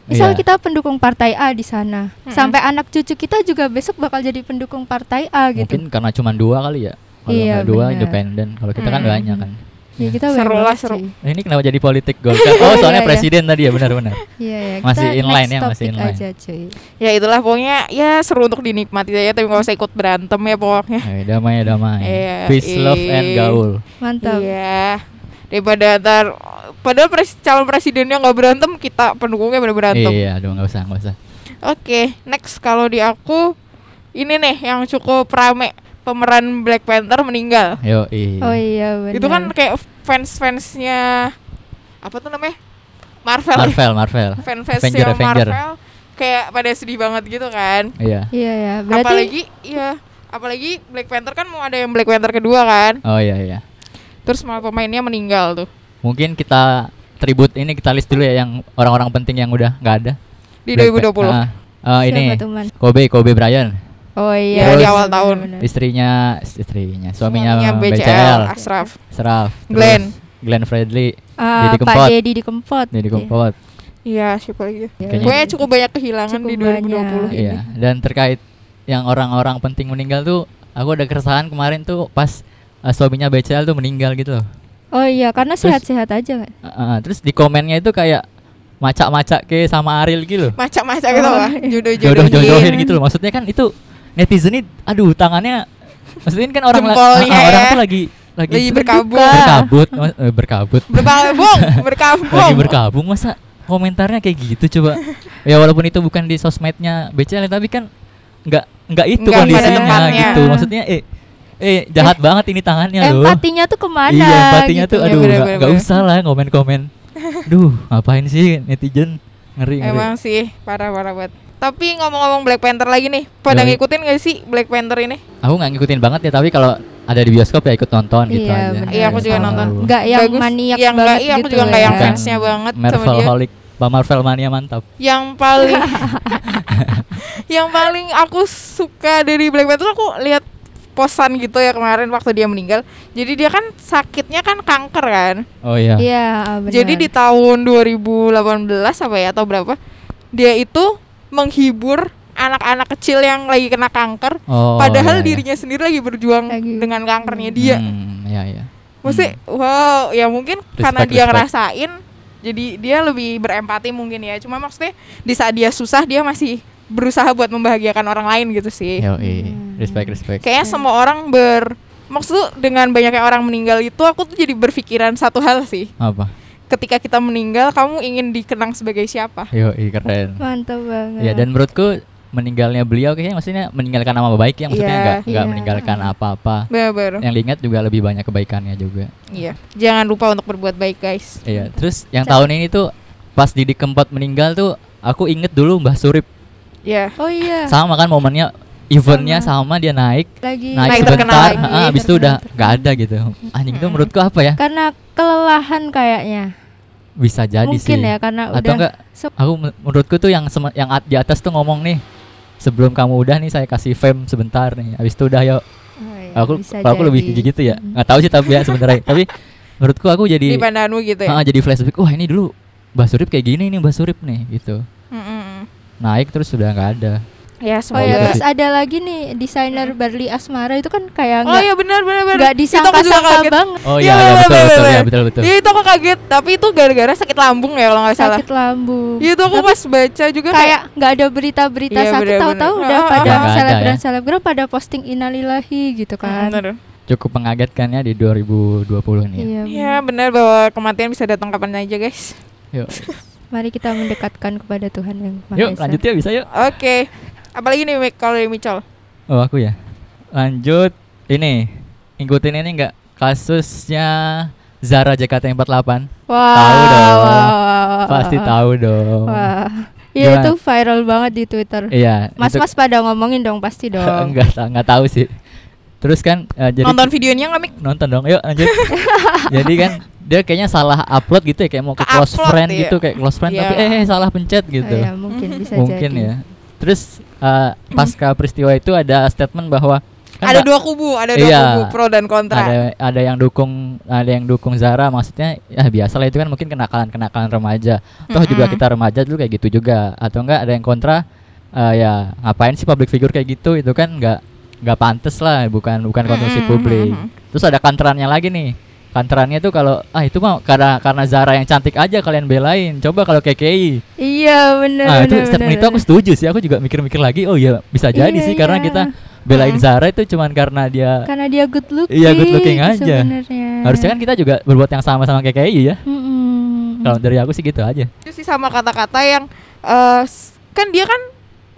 [SPEAKER 3] Misal
[SPEAKER 2] Iya.
[SPEAKER 3] kita pendukung partai A di sana,
[SPEAKER 1] Mm-mm.
[SPEAKER 3] sampai anak cucu kita juga besok bakal jadi pendukung partai A
[SPEAKER 2] Mungkin
[SPEAKER 3] gitu.
[SPEAKER 2] karena cuma dua kali ya. Kalau
[SPEAKER 3] Iya,
[SPEAKER 2] nggak dua
[SPEAKER 3] benar.
[SPEAKER 2] independen, kalau kita kan
[SPEAKER 1] Hmm.
[SPEAKER 2] banyak kan.
[SPEAKER 3] Ya, kita
[SPEAKER 1] Seru
[SPEAKER 3] banyak
[SPEAKER 1] lah,
[SPEAKER 3] banget
[SPEAKER 1] seru.
[SPEAKER 3] sih.
[SPEAKER 2] Nah, Ini kenapa jadi politik Golkar? Oh, soalnya
[SPEAKER 3] Iya, iya.
[SPEAKER 2] presiden tadi ya, benar-benar.
[SPEAKER 3] Iya, ya.
[SPEAKER 2] Masih
[SPEAKER 3] kita
[SPEAKER 2] inline
[SPEAKER 3] next
[SPEAKER 2] ya, masih
[SPEAKER 3] topic
[SPEAKER 2] inline.
[SPEAKER 3] Aja, cuy.
[SPEAKER 1] Ya itulah pokoknya ya seru untuk dinikmati aja tapi nggak usah ikut berantem ya pokoknya.
[SPEAKER 2] Eh, damai, damai.
[SPEAKER 1] Iya,
[SPEAKER 2] Peace, love, and
[SPEAKER 1] ih.
[SPEAKER 2] gaul.
[SPEAKER 3] Mantap.
[SPEAKER 1] Iya. Daripada ntar padahal pres- calon presidennya nggak berantem, kita pendukungnya pada berantem.
[SPEAKER 2] Iya, aduh nggak usah, nggak usah.
[SPEAKER 1] Oke, next kalau di aku ini nih yang cukup rame pemeran Black Panther meninggal.
[SPEAKER 2] Yo, iya.
[SPEAKER 3] Oh iya benar.
[SPEAKER 1] Itu kan kayak fans-fansnya apa tuh namanya? Marvel. ya?
[SPEAKER 2] Marvel, Marvel. Avenger,
[SPEAKER 1] Fan-fansnya
[SPEAKER 2] Avenger.
[SPEAKER 1] ya, Marvel kayak pada sedih banget gitu kan.
[SPEAKER 2] Iya.
[SPEAKER 3] Iya ya, berarti
[SPEAKER 1] Apalagi ya apalagi Black Panther kan mau ada yang Black Panther kedua kan.
[SPEAKER 2] Oh iya, iya.
[SPEAKER 1] Terus malah pemainnya meninggal tuh.
[SPEAKER 2] Mungkin kita tribut ini kita list dulu ya yang orang-orang penting yang udah nggak ada.
[SPEAKER 1] Di
[SPEAKER 2] Black Panther.
[SPEAKER 1] 2020.
[SPEAKER 2] Ah, ah, ini
[SPEAKER 3] siapa tuh, Man?
[SPEAKER 2] Kobe, Kobe Bryant.
[SPEAKER 3] Oh iya,
[SPEAKER 2] Terus-
[SPEAKER 3] iya,
[SPEAKER 2] di
[SPEAKER 1] awal
[SPEAKER 3] benar,
[SPEAKER 1] tahun.
[SPEAKER 3] benar.
[SPEAKER 2] Istrinya, istrinya, suaminya,
[SPEAKER 1] Suaminya
[SPEAKER 2] BCL,
[SPEAKER 1] Ashraf.
[SPEAKER 2] Seraf, terus
[SPEAKER 1] Glenn.
[SPEAKER 2] Glenn Fredly,
[SPEAKER 3] Ah,
[SPEAKER 2] Didi
[SPEAKER 3] Pak
[SPEAKER 2] Kempot.
[SPEAKER 3] Deddy di Kempot.
[SPEAKER 2] Didi
[SPEAKER 3] Iya.
[SPEAKER 2] Kempot.
[SPEAKER 1] Iya, siapa lagi?
[SPEAKER 3] Iya,
[SPEAKER 2] Kayaknya-
[SPEAKER 1] Pokoknya cukup banyak kehilangan
[SPEAKER 3] Cukup
[SPEAKER 1] di 2020
[SPEAKER 3] banyak.
[SPEAKER 1] ini.
[SPEAKER 2] Iya, dan terkait yang orang-orang penting meninggal tuh aku ada keresahan kemarin tuh pas eh, suaminya BCL tuh meninggal gitu loh.
[SPEAKER 3] Oh iya, karena
[SPEAKER 2] Terus-
[SPEAKER 3] sehat-sehat aja kan.
[SPEAKER 2] Eh, eh, terus di komennya itu kayak macak-macak ke sama Ariel gitu loh.
[SPEAKER 1] Macam-macam gitu lah, jodoh-jodohin.
[SPEAKER 2] Jodoh-jodohin gitu loh. Maksudnya kan itu netizen ini aduh tangannya maksudnya kan orang la-
[SPEAKER 1] Jempolnya
[SPEAKER 2] ah, ah, orang
[SPEAKER 1] ya.
[SPEAKER 2] tuh lagi lagi
[SPEAKER 1] Lagi
[SPEAKER 2] berduka,
[SPEAKER 1] berkabung.
[SPEAKER 2] berkabut, ma- eh, berkabut.
[SPEAKER 1] Berkabung, berkabung.
[SPEAKER 2] lagi berkabung masa komentarnya kayak gitu coba ya walaupun itu bukan di sosmednya BCL tapi kan nggak nggak itu
[SPEAKER 1] Nggak pada
[SPEAKER 2] kondisinya
[SPEAKER 1] tempatnya.
[SPEAKER 2] gitu maksudnya eh eh jahat banget ini tangannya loh
[SPEAKER 3] Empatinya tuh kemana?
[SPEAKER 2] iya empatinya
[SPEAKER 3] gitu.
[SPEAKER 2] tuh
[SPEAKER 1] ya,
[SPEAKER 2] aduh
[SPEAKER 1] bener,
[SPEAKER 2] nggak
[SPEAKER 1] bener,
[SPEAKER 2] nggak
[SPEAKER 1] bener.
[SPEAKER 2] usah lah komen komen duh ngapain sih netizen ngeri ngeri
[SPEAKER 1] Emang sih parah-parah banget. Tapi ngomong-ngomong Black Panther lagi nih, pada
[SPEAKER 2] Yoi.
[SPEAKER 1] ngikutin gak sih Black Panther ini?
[SPEAKER 2] aku nggak ngikutin banget ya tapi kalau ada di bioskop ya ikut nonton gitu
[SPEAKER 3] Iya,
[SPEAKER 2] aja
[SPEAKER 3] bener.
[SPEAKER 1] Iya, aku juga
[SPEAKER 2] Tahu.
[SPEAKER 1] nonton.
[SPEAKER 3] Nggak yang
[SPEAKER 1] Bagus,
[SPEAKER 3] maniak
[SPEAKER 1] yang nggak-
[SPEAKER 3] banget
[SPEAKER 1] iya, aku
[SPEAKER 3] gitu
[SPEAKER 1] juga nggak yang
[SPEAKER 3] ya.
[SPEAKER 2] Bukan
[SPEAKER 1] fansnya banget sama
[SPEAKER 2] Marvel
[SPEAKER 1] dia.
[SPEAKER 2] holic Pak Marvel mania mantap
[SPEAKER 1] Yang paling yang paling aku suka dari Black Panther aku lihat posan gitu ya kemarin waktu dia meninggal. Jadi dia kan sakitnya kan kanker kan.
[SPEAKER 2] oh iya
[SPEAKER 3] Iya, benar.
[SPEAKER 1] Jadi di tahun 2018 apa ya atau berapa dia itu menghibur anak-anak kecil yang lagi kena kanker
[SPEAKER 2] Oh,
[SPEAKER 1] padahal
[SPEAKER 2] iya, iya.
[SPEAKER 1] dirinya sendiri lagi berjuang
[SPEAKER 3] Lagi.
[SPEAKER 1] dengan kankernya dia.
[SPEAKER 2] Hmm, iya iya
[SPEAKER 1] Mesti wow, ya mungkin karena dia
[SPEAKER 2] respect.
[SPEAKER 1] ngerasain jadi dia lebih berempati mungkin ya. Cuma maksudnya di saat dia susah dia masih berusaha buat membahagiakan orang lain gitu sih.
[SPEAKER 2] Yo, respect respect.
[SPEAKER 1] Kayaknya semua orang ber maksud tuh dengan banyaknya orang meninggal itu aku tuh jadi berpikiran satu hal sih.
[SPEAKER 2] Apa?
[SPEAKER 1] Ketika kita meninggal kamu ingin dikenang sebagai siapa?
[SPEAKER 2] Yo, keren.
[SPEAKER 3] mantap banget.
[SPEAKER 2] Ya dan menurutku meninggalnya beliau kayaknya maksudnya meninggalkan nama baik ya maksudnya
[SPEAKER 1] Iya.
[SPEAKER 2] nggak nggak
[SPEAKER 3] Iya.
[SPEAKER 2] meninggalkan apa-apa
[SPEAKER 1] Bener.
[SPEAKER 2] yang diingat juga lebih banyak kebaikannya juga
[SPEAKER 1] Iya. Jangan lupa untuk berbuat baik, guys.
[SPEAKER 2] iya terus yang tahun ini tuh pas Didi Kempot meninggal tuh aku inget dulu Mbah Surip
[SPEAKER 1] Iya.
[SPEAKER 3] Oh iya.
[SPEAKER 2] sama kan momennya eventnya sama dia naik
[SPEAKER 3] Lagi Iya,
[SPEAKER 1] Naik
[SPEAKER 2] naik
[SPEAKER 1] terkenal
[SPEAKER 2] sebentar
[SPEAKER 1] lagi,
[SPEAKER 2] ah, habis itu udah
[SPEAKER 3] terkenal.
[SPEAKER 2] nggak ada gitu anjing itu
[SPEAKER 1] Mm-mm.
[SPEAKER 2] menurutku apa ya
[SPEAKER 3] karena kelelahan kayaknya.
[SPEAKER 2] bisa jadi
[SPEAKER 3] Mungkin
[SPEAKER 2] sih
[SPEAKER 3] ya karena
[SPEAKER 2] atau
[SPEAKER 3] udah
[SPEAKER 2] enggak
[SPEAKER 3] sok-
[SPEAKER 2] aku men- menurutku tuh yang sema- yang at- di atas tuh ngomong nih sebelum kamu udah nih saya kasih fame sebentar nih habis itu udah yuk
[SPEAKER 3] Oh iya,
[SPEAKER 2] aku
[SPEAKER 3] bisa
[SPEAKER 2] kalau aku lebih
[SPEAKER 3] jadi.
[SPEAKER 2] gitu ya
[SPEAKER 3] Mm.
[SPEAKER 2] nggak tahu sih tapi ya sebenarnya tapi menurutku aku
[SPEAKER 1] Di
[SPEAKER 2] jadi
[SPEAKER 1] pandanganmu gitu ya.
[SPEAKER 2] ah, jadi flashback wah ini dulu Mbak Surip kayak gini nih Mbak Surip nih gitu
[SPEAKER 1] Mm-mm.
[SPEAKER 2] naik terus sudah nggak ada
[SPEAKER 1] Ya,
[SPEAKER 3] Oh
[SPEAKER 1] semoga.
[SPEAKER 3] ya,
[SPEAKER 2] Iya.
[SPEAKER 3] terus ada lagi nih desainer Barli Asmara itu kan kayak
[SPEAKER 1] Oh
[SPEAKER 3] nggak
[SPEAKER 1] iya benar benar benar. Itu
[SPEAKER 3] nggak
[SPEAKER 1] aku juga
[SPEAKER 3] disangka-sangka
[SPEAKER 1] kaget.
[SPEAKER 3] banget
[SPEAKER 2] oh
[SPEAKER 1] Iya,
[SPEAKER 2] iya iya
[SPEAKER 1] bener,
[SPEAKER 2] betul
[SPEAKER 1] bener,
[SPEAKER 2] betul
[SPEAKER 1] bener.
[SPEAKER 2] ya betul betul
[SPEAKER 1] Iya itu aku kaget, tapi itu gara-gara sakit lambung ya kalau nggak salah.
[SPEAKER 3] sakit lambung.
[SPEAKER 1] Iya itu aku
[SPEAKER 3] Tapi
[SPEAKER 1] pas baca juga
[SPEAKER 3] kayak nggak ada berita-berita
[SPEAKER 1] Iya,
[SPEAKER 3] sakit
[SPEAKER 1] bener-bener.
[SPEAKER 3] tahu-tahu udah
[SPEAKER 1] Ah,
[SPEAKER 2] ah, ah.
[SPEAKER 3] pada selebgram
[SPEAKER 2] Nggak ada ya.
[SPEAKER 3] selebgram pada posting inalilahi gitu
[SPEAKER 1] kan.
[SPEAKER 3] kan.
[SPEAKER 2] cukup mengagetkan ya di 2020 ini
[SPEAKER 3] Iya.
[SPEAKER 1] Iya
[SPEAKER 3] bener.
[SPEAKER 1] benar bahwa kematian bisa datang kapan aja, guys.
[SPEAKER 2] yuk
[SPEAKER 3] Mari kita mendekatkan kepada Tuhan yang Maha
[SPEAKER 2] yuk
[SPEAKER 3] Esa.
[SPEAKER 2] lanjut ya bisa yuk
[SPEAKER 1] Oke. Apalagi nih Mik, kalau dari Michol.
[SPEAKER 2] oh aku ya lanjut ini ngikutin ini nggak kasusnya Zara JKT48 Tahu
[SPEAKER 3] Wah,
[SPEAKER 2] dong.
[SPEAKER 3] wah, wah, wah,
[SPEAKER 2] pasti
[SPEAKER 3] wah.
[SPEAKER 2] tahu dong
[SPEAKER 3] Wah. Iya
[SPEAKER 2] Gimana?
[SPEAKER 3] itu viral banget di Twitter.
[SPEAKER 2] iya itu-
[SPEAKER 3] Mas-mas pada ngomongin dong pasti dong.
[SPEAKER 2] enggak ta- enggak tahu sih terus kan eh, jadi
[SPEAKER 1] Nonton videonya nggak Mik?
[SPEAKER 2] nonton dong yuk lanjut jadi kan dia kayaknya salah upload gitu ya kayak mau ke close
[SPEAKER 1] Ke-upload
[SPEAKER 2] friend
[SPEAKER 1] dia.
[SPEAKER 2] gitu kayak close friend
[SPEAKER 1] Iya.
[SPEAKER 2] tapi eh salah pencet
[SPEAKER 3] Oh
[SPEAKER 2] gitu
[SPEAKER 3] iya, mungkin bisa
[SPEAKER 2] mungkin
[SPEAKER 3] jadi.
[SPEAKER 2] ya terus eh, pasca peristiwa itu ada statement bahwa kan
[SPEAKER 1] Ada
[SPEAKER 2] nggak-
[SPEAKER 1] dua kubu, ada dua
[SPEAKER 2] Iya.
[SPEAKER 1] kubu pro dan kontra.
[SPEAKER 2] ada ada yang dukung ada yang dukung Zara maksudnya ya biasa lah itu kan mungkin kenakalan kenakalan remaja toh juga
[SPEAKER 1] Mm-mm.
[SPEAKER 2] kita remaja dulu kayak gitu juga atau enggak ada yang kontra eh, ya ngapain sih public figure kayak gitu itu kan enggak enggak pantas lah bukan bukan konsumsi
[SPEAKER 1] Mm-mm.
[SPEAKER 2] publik terus ada kantorannya lagi nih kantorannya tuh kalau ah itu mah karena karena Zara yang cantik aja kalian belain coba kalau KKI
[SPEAKER 3] Iya benar.
[SPEAKER 2] nah itu statement itu aku setuju sih aku juga mikir-mikir lagi oh iya bisa jadi
[SPEAKER 3] Iya,
[SPEAKER 2] sih karena
[SPEAKER 3] iya.
[SPEAKER 2] kita belain
[SPEAKER 1] Mm-mm.
[SPEAKER 2] Zara itu cuman karena dia
[SPEAKER 3] karena dia good looking.
[SPEAKER 2] Iya, good looking aja.
[SPEAKER 3] Sebenarnya.
[SPEAKER 1] Hmm.
[SPEAKER 2] Harusnya kan kita juga berbuat yang sama sama kayak KKI ya.
[SPEAKER 3] Mm-mm.
[SPEAKER 1] Hmm.
[SPEAKER 2] Kalau dari aku sih gitu aja.
[SPEAKER 1] Itu sih sama kata-kata yang eh, s- kan dia kan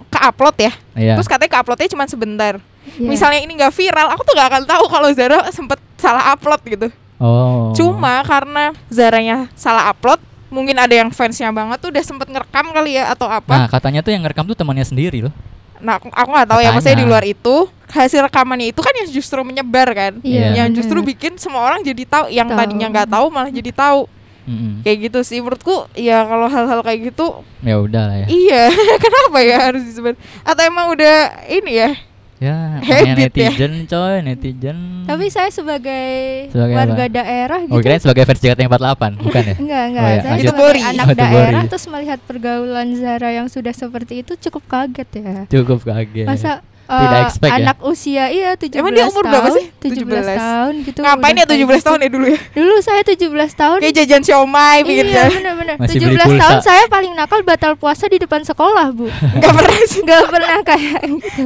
[SPEAKER 1] ke-upload ya.
[SPEAKER 2] Iya.
[SPEAKER 1] Terus katanya ke-uploadnya cuma sebentar.
[SPEAKER 3] Iya.
[SPEAKER 1] Misalnya ini nggak viral, aku tuh nggak akan tahu kalau Zara sempet salah upload gitu.
[SPEAKER 2] Oh.
[SPEAKER 1] Cuma karena Zaranya salah upload, mungkin ada yang fansnya banget tuh udah sempet ngerekam kali ya atau
[SPEAKER 2] Nah,
[SPEAKER 1] apa. Nah,
[SPEAKER 2] katanya tuh yang ngerekam tuh temannya sendiri loh.
[SPEAKER 1] aku aku nggak tahu ya maksudnya di
[SPEAKER 2] Katanya.
[SPEAKER 1] luar itu hasil rekamannya itu kan yang justru menyebar kan.
[SPEAKER 3] Iya,
[SPEAKER 2] Iya.
[SPEAKER 1] Yang justru
[SPEAKER 3] bener.
[SPEAKER 1] bikin semua orang jadi tahu, yang
[SPEAKER 3] Tahu.
[SPEAKER 1] tadinya nggak tahu malah jadi tahu.
[SPEAKER 2] Mm-mm.
[SPEAKER 1] Kayak gitu sih menurutku ya kalau hal-hal kayak gitu
[SPEAKER 2] Ya udah lah ya.
[SPEAKER 1] iya kenapa ya harus disebar atau emang udah ini ya
[SPEAKER 2] Ya, namanya
[SPEAKER 1] Habit ya.
[SPEAKER 2] netizen coy, netizen.
[SPEAKER 3] Tapi saya sebagai,
[SPEAKER 2] Sebagai
[SPEAKER 3] warga
[SPEAKER 2] apa?
[SPEAKER 3] daerah
[SPEAKER 2] Oh,
[SPEAKER 3] gitu.
[SPEAKER 2] kirain sebagai versi JKT48, bukan ya?
[SPEAKER 3] Enggak, enggak.
[SPEAKER 2] Oh, iya,
[SPEAKER 3] Saya
[SPEAKER 2] lanjut.
[SPEAKER 1] Bori.
[SPEAKER 3] sebagai anak
[SPEAKER 2] Oh, itu
[SPEAKER 3] daerah
[SPEAKER 2] Bori.
[SPEAKER 3] terus melihat pergaulan Zara yang sudah seperti itu cukup kaget ya.
[SPEAKER 2] Cukup kaget.
[SPEAKER 3] Masa
[SPEAKER 2] Iya. Tidak
[SPEAKER 3] eh,
[SPEAKER 2] expect ya?
[SPEAKER 3] anak usia iya 17
[SPEAKER 1] Emang dia umur
[SPEAKER 3] tahun,
[SPEAKER 1] berapa sih?
[SPEAKER 3] 17,
[SPEAKER 1] 17.
[SPEAKER 3] tahun gitu.
[SPEAKER 1] ngapain ya
[SPEAKER 3] udah
[SPEAKER 1] 17
[SPEAKER 3] kayak
[SPEAKER 1] tahun
[SPEAKER 3] gitu.
[SPEAKER 1] ya dulu ya
[SPEAKER 3] Dulu saya 17 tahun.
[SPEAKER 1] kayak jajan siomay pikir
[SPEAKER 3] Iya
[SPEAKER 1] Zara.
[SPEAKER 3] benar-benar.
[SPEAKER 2] Masih
[SPEAKER 3] 17
[SPEAKER 2] beli pulsa.
[SPEAKER 3] tahun saya paling nakal batal puasa di depan sekolah, Bu.
[SPEAKER 1] nggak pernah sih
[SPEAKER 3] Enggak pernah kayak gitu.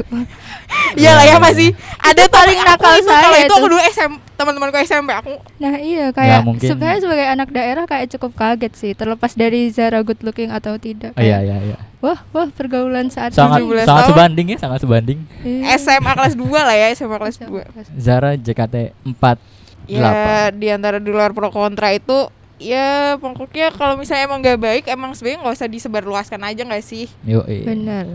[SPEAKER 1] Iya lah ya masih ada
[SPEAKER 3] paling
[SPEAKER 1] temen aku itu
[SPEAKER 3] nakal
[SPEAKER 1] kalau
[SPEAKER 3] saya
[SPEAKER 1] itu aku
[SPEAKER 3] tuh.
[SPEAKER 1] dulu SM teman-temanku SMP aku
[SPEAKER 3] Nah, iya kayak
[SPEAKER 2] mungkin.
[SPEAKER 3] sebenarnya sebagai anak daerah kayak cukup kaget sih terlepas dari Zara good looking atau tidak.
[SPEAKER 2] Oh, iya,
[SPEAKER 3] kayak,
[SPEAKER 2] iya, iya.
[SPEAKER 3] Wah, wah pergaulan saat
[SPEAKER 2] Sangat
[SPEAKER 1] 17
[SPEAKER 2] sangat
[SPEAKER 1] tahun.
[SPEAKER 2] sebanding ya, sangat sebanding.
[SPEAKER 3] Iya.
[SPEAKER 1] SMA kelas 2 lah ya SMA kelas 2
[SPEAKER 2] Zara
[SPEAKER 1] Iya.
[SPEAKER 2] JKT48.
[SPEAKER 1] ya di antara di luar pro kontra itu ya pokoknya kalau misalnya emang nggak baik emang sebenarnya nggak usah disebarluaskan aja nggak sih
[SPEAKER 2] Yo, iya.
[SPEAKER 3] Benar.